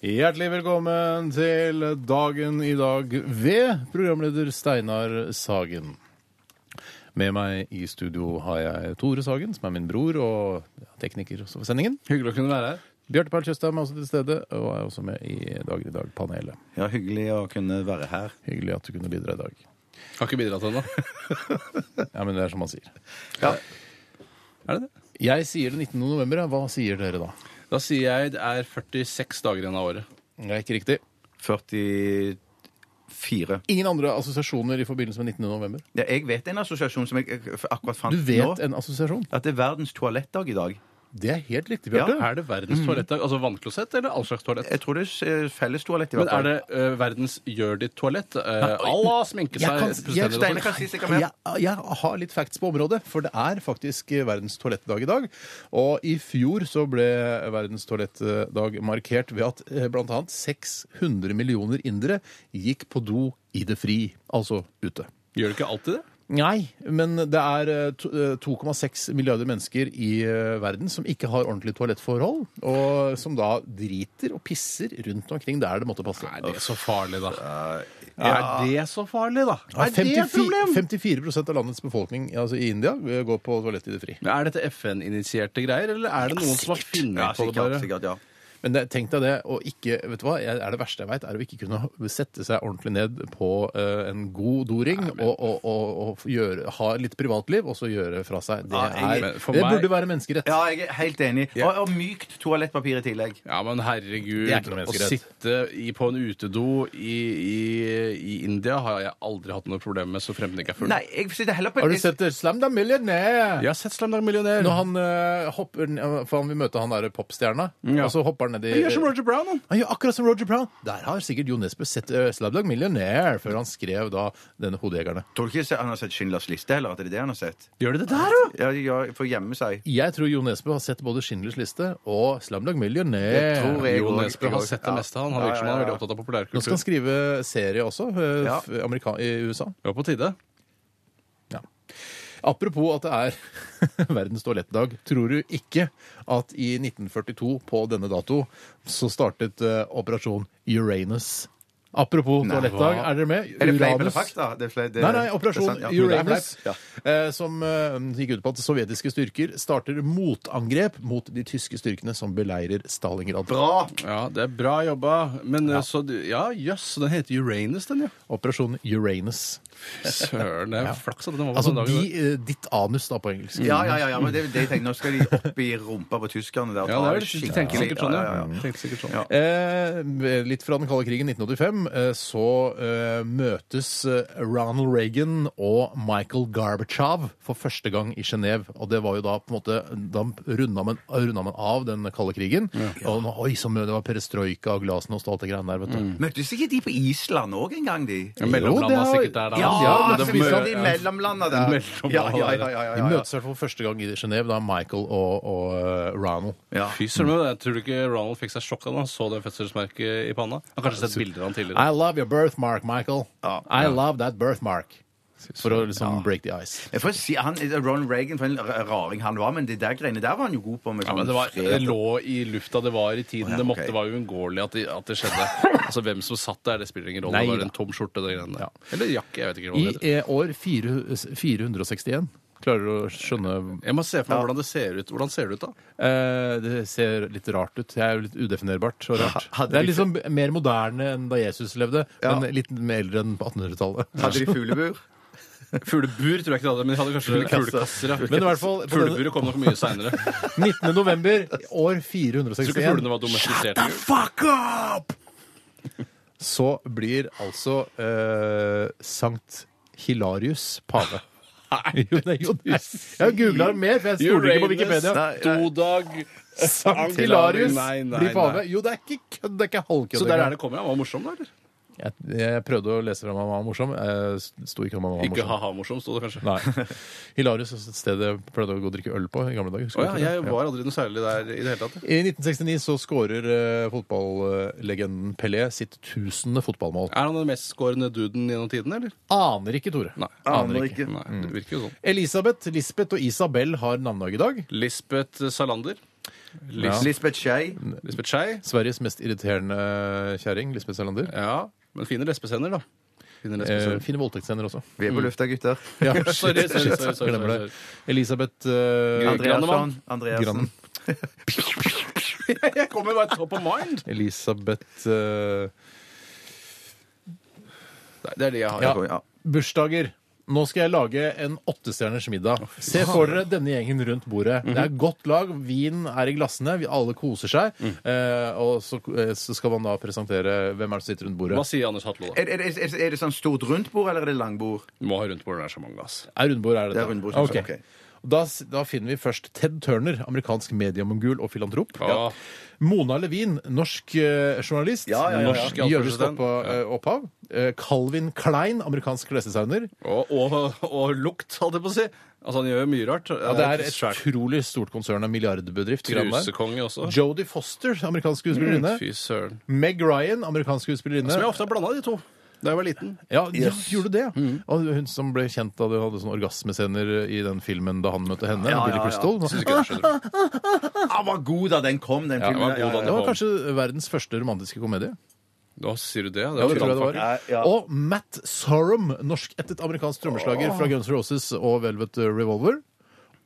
Hjertelig velkommen til Dagen i dag ved programleder Steinar Sagen. Med meg i studio har jeg Tore Sagen, som er min bror og ja, tekniker også for sendingen. Hyggelig å kunne være her. Bjarte Perl Tjøstheim er også til stede, og er også med i Dagen i dag-panelet. Ja, hyggelig å kunne være her. Hyggelig at du kunne bidra i dag. Har ikke bidratt ennå. Ja, men det er som han sier. Er det det? Jeg sier det 19. november, ja. hva sier dere da? Da sier jeg det er 46 dager igjen av året. Det er ikke riktig. 44. Ingen andre assosiasjoner i forbindelse med 19. november? Ja, jeg vet en assosiasjon som jeg akkurat fant Du vet nå. en assosiasjon? At det er verdens toalettdag i dag. Det er helt riktig, Ja. Mm. Bjarte. Er det verdens toalettdag? Altså vannklosett eller all slags toalett? Jeg tror det er eh, fellestoalett i Men hvert er fall. det ø, verdens gjør ditt-toalett? Uh, Allah sminke Jeg seg kan- jeg- fullstendig. Steine kan si seg om jeg, jeg har litt facts på området, for det er faktisk eh, verdens toalettdag i dag. Og i fjor så ble verdens toalettdag markert ved at eh, blant annet 600 millioner indere gikk på do i det fri, altså ute. Gjør det ikke alltid det? Nei, men det er eh, to- eh, 2,6 milliarder mennesker i eh, verden som ikke har ordentlige toalettforhold, og som da driter og pisser rundt omkring der det måtte passe. Er det så farlig, da? Er det så farlig, da? Ja, Er det et 54 problem? 54 av landets befolkning altså i India eh, går på toalett i det fri. Men Er dette FN-initierte greier, eller er det noen som har funnet Ja, på det? sikkert, bare? sikkert, ja. Men det, tenk deg det, og ikke, vet du hva, jeg, er det verste jeg veit, er å ikke kunne sette seg ordentlig ned på eh, en god doring og, og, og, og gjøre, ha litt privatliv, og så gjøre fra seg. Det, Ja, jeg- er, men for det meg- burde være menneskerett. Ja, jeg er helt enig. Og, og mykt toalettpapir i tillegg. Ja, men herregud, Det er ikke noe å menneskerett. sitte i, på en utedo i, i, i India har jeg aldri hatt noe problem med, så fremmed jeg ikke er full. Nei, jeg sitter heller på Har du sett det? Slam da millionaire! Jeg har sett Slamdag Millionær. Når han eh, hopper ned- For han vil møte han derre popstjerna, Ja. og så hopper han ned i Han gjør som Roger Brown, han. Han gjør akkurat som Roger Brown! Der har sikkert Jo Nesbø sett uh, Slabdag Millionaire før han skrev da denne Hodejegerne. Tror du ikke han har sett Schindlers liste heller? At det er det han har sett? Gjør de det der, da? Ja, ja for å gjemme seg. Jeg tror Jo Nesbø har sett både Schindlers liste og Slabdag Millionaire. Det tror jeg. Jo også, Nesbø har jeg sett det også. meste, han. Han Ja, virker som han er ja, ja. veldig opptatt av Nå skal populærkultur. han skrive serie også, eh, Ja. f- amerika- i USA. Det var på tide. Ja. Apropos at det er verdens toalettdag. Tror du ikke at i 1942 på denne dato så startet eh, operasjon Uranus? Apropos toalettdag, hva? er dere med? Er det fleip eller Uranus. fakta? Det er fleip- det- Nei, nei, det er operasjon sant, ja. Uranus, Ja. eh, som eh, gikk ut på at sovjetiske styrker starter motangrep mot de tyske styrkene som beleirer Stalingrad. Bra! Ja, det er bra jobba. Men ja. så du- Ja, jøss, den heter Uranus, den, ja. Operasjon Uranus. Søren, det er flaks at den var på Altså den de, dagen. der. eh, ditt anus, da, på engelsk. Mm. Ja, ja, ja, ja, men det, er det jeg tenkte, nå skal de opp i rumpa på tyskerne. Der, og Ja, ta det er vel skikkelig- tenker sikkert sånn, Ja, ja. ja, ja. Tenker sikkert sånn. Ja. Eh, litt fra den kalde krigen 1985 eh, så eh, møtes eh, Ronald Reagan og Michael Gorbachev for første gang i Genéve. Og det var jo da på en måte Da runda man, runda man av den kalde krigen. Og nå, oi, så mye det var perestrojka og glasnost og alt det greiene der, vet du. Møttes ikke de på Island òg en gang, de? Ja, Mellomlandet Jo, det er har- sikkert der, da. Ja, Ja, så det vi må- sa de mellomlanda der. Mellomlanda Ja, ja, ja, ja, ja, De ja, ja. møtes i hvert fall for første gang i Genéve, da Michael og, og eh, Ronald. Ja. Fy søren, men jeg tror du ikke Ronald fikk seg sjokka da han så det fødselsmerket i panna? Han har kanskje sett bilder av han tidligere. I love your birthmark, Michael. Ja. I love that birthmark. For å liksom break the ice. Jeg får si, han, Ron Reagan, for en r- raring han var, men det der greiene der var han jo god på. Med Ja, sånn men det, var, fred. det lå i lufta, det var i tiden, ja, det måtte, ok. det var uunngåelig at, det- at det skjedde. Altså, Hvem som satt der, det spiller ingen rolle. Nei det var da. en tom skjorte, det greiene der. Ja. Eller jakke, jeg vet ikke hva I det heter. eh, år 4, 461. Klarer du å skjønne Jeg må se for meg hvordan det ser ut. Hvordan ser det ut, da? eh, Det ser litt rart ut. Det er jo litt udefinerbart og rart. Hadde Det er vi- liksom mer moderne enn da Jesus levde, Ja. men litt mer eldre enn på 1800-tallet. Hadde de fuglebur? Fuglebur tror jeg ikke det hadde, men de hadde kanskje fuglekasser. ja. Men i hvert fall på denne- Fugleburet kom nok mye seinere. 19. november år Tror du ikke 461 fuglene var domestisert? Fuck up! så blir altså eh, Sankt Hilarius pave. Jo, det er jo det. Jeg har googla det mer, for jeg stoler ikke på Wikipedia. Nei, nei. Dodag, Sankt Hilarius Nei, nei, blir pave. nei. Jo, det er ikke kødd. Det er ikke halvkødd. Så der er det kommer. Han var morsom, da? eller? Jeg, jeg prøvde å lese fra meg hva var morsom. Jeg sto ikke om han var Ikke morsom. ha-ha-morsom, sto det kanskje. Nei. Hilarius er et sted jeg pleide å gå og drikke øl på i gamle dager. Å Husker du ja, ikke det? jeg var aldri noe særlig der i det hele tatt. I 1969 så skårer eh, fotballegenden Pelé sitt tusende fotballmål. Er han den mestskårende duden gjennom tiden, eller? Aner ikke, Tore. Nei. Aner ikke. Mm. Nei, det virker jo sånn. Elisabeth, Lisbeth og Isabel har navnedag i dag. Lisbeth Salander. Lis Lisbeth Skei. Lisbeth Skei. Sveriges mest irriterende kjerring, Lisbeth Salander. Ja, men fine lesbescener, da. Finner Eh, lesbesøk. finner voldtektsscener også. Vi er Mm. på lufta, gutter. Ja, Sorry, sorry, sorry, sorry, sorry, Glemmer det. sorry. Elisabeth eh, Andreasson. Grannemann. Andreassen. Gran- Jeg kommer bare top of mind! Elisabeth eh, Nei, Det er det jeg har. Ja. Ja. Bursdager. Nå skal jeg lage en åttestjerners middag. Se for dere denne gjengen rundt bordet. Det Mhm. er godt lag, vin er i glassene, vi alle koser seg. Mm. Eh, og så, eh, så skal man da presentere hvem er det som sitter rundt bordet. Hva sier Anders Hatlo, Eh. da? Er, er, er, er det sånn stort rundt bord, eller er det langbord? Du må ha rundt bordet, det er så mange, ass. Er rundbord, er det Det er det? rundbord, synes jeg. Ok. Ok. Og Da, s- da finner vi først Ted Turner, amerikansk mediemongul og filantrop. Ja. Mona Levin, norsk eh, journalist. Ja, ja, ja, ja. Norsk jødisk President. oppa, eh, opphav. Eh, Calvin Klein, amerikansk klesdesigner. Og, og, og lukt, holdt jeg på å si. Altså, Han gjør jo mye rart. Ja, det er et utrolig stort konsern av milliardbedrift. greiene der. Trusekonge også. Mm, Jodie Foster, amerikansk skuespillerinne. Fy søren. Meg Ryan, amerikansk Som jeg skuespillerinne. ofte har blanda de to. Da jeg var liten. Ja, de gjorde det. Mm. Og hun som ble kjent da du hadde sånne orgasmescener i den filmen da han møtte henne. Billy Crystal. Syns ikke det, skjønner du. Ah, var god da den kom, den Ja, filmen. den var god da den Det var kom. kanskje verdens første romantiske komedie. Da sier du det. Ja, Det det tror jeg er sant, det var. faktisk. Ja, ja. Og Matt Sorum, norskættet amerikansk trommeslager fra Guns N' Roses og Velvet Revolver.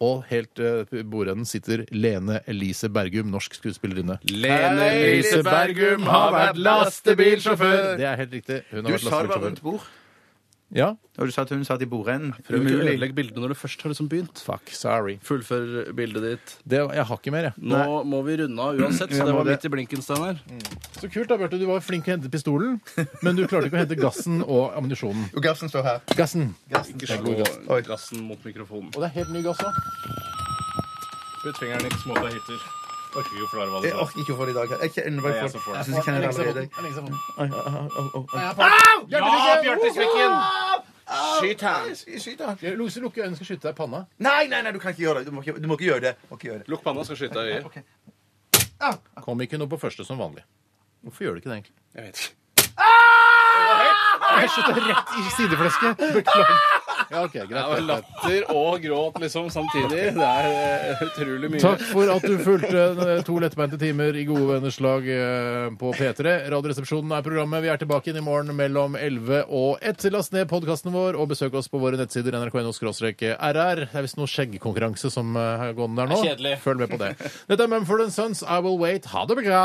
Og helt eh, på bordenden sitter Lene Elise Bergum, norsk skuespillerinne. Lene Elise Bergum har vært lastebilsjåfør. Det er helt riktig. Hun har Du vært sa det var rundt lastebilsjåfør. bord, Ja. og du sa at hun satt i bordenden. Prøv ikke å Umulig. ødelegge bildet når du først har liksom begynt. Fuck, sorry. Fullfør bildet ditt. Det, jeg har ikke mer, jeg. Nå må vi runde av uansett, så Jeg det Mm. må var det. midt i blinken, Steinar. Så kult da, Bjarte. Du var flink til å hente pistolen, men du klarte ikke å hente gassen og ammunisjonen. Og Gassen står her. Gassen. Ikke Det er god gass. slå gassen mot mikrofonen. Og det er helt ny gass nå. Putt fingeren i små kahytter. Orker ikke å forklare hva Jeg orker ikke å få det i dag. Jeg, jeg, jeg, jeg jeg, som får det. synes jeg liksom- kjenner det allerede. Ja, Bjarte Smekken! Skyt her! Skyt han. Lose lukke øynene, skal skyte deg i panna. Nei, nei, nei, du kan ikke gjøre det. Du må ikke, du må ikke gjøre det. Du Må ikke gjøre det. Lukk panna, skal skyte deg i øyet. Ok. Kom ikke noe på første som vanlig. Hvorfor gjør du ikke det, egentlig? Jeg vet ikke. Jeg skjøt deg rett i sideflesket. Beklager. Ja, ok, Det greit. var latter og gråt liksom samtidig. Det er eh, utrolig mye. Takk for at du fulgte eh, to lettbeinte timer i gode venners lag eh, på P3. Radioresepsjonen er programmet. Vi er tilbake inn i morgen mellom 11 og 1. Last ned podkasten vår og besøk oss på våre nettsider nrk.no-rr. Det er visst noe skjeggkonkurranse som eh, er gående der nå. Kjedelig. Følg med på det. Dette er Mumford Sons. I will wait. Ha det bra.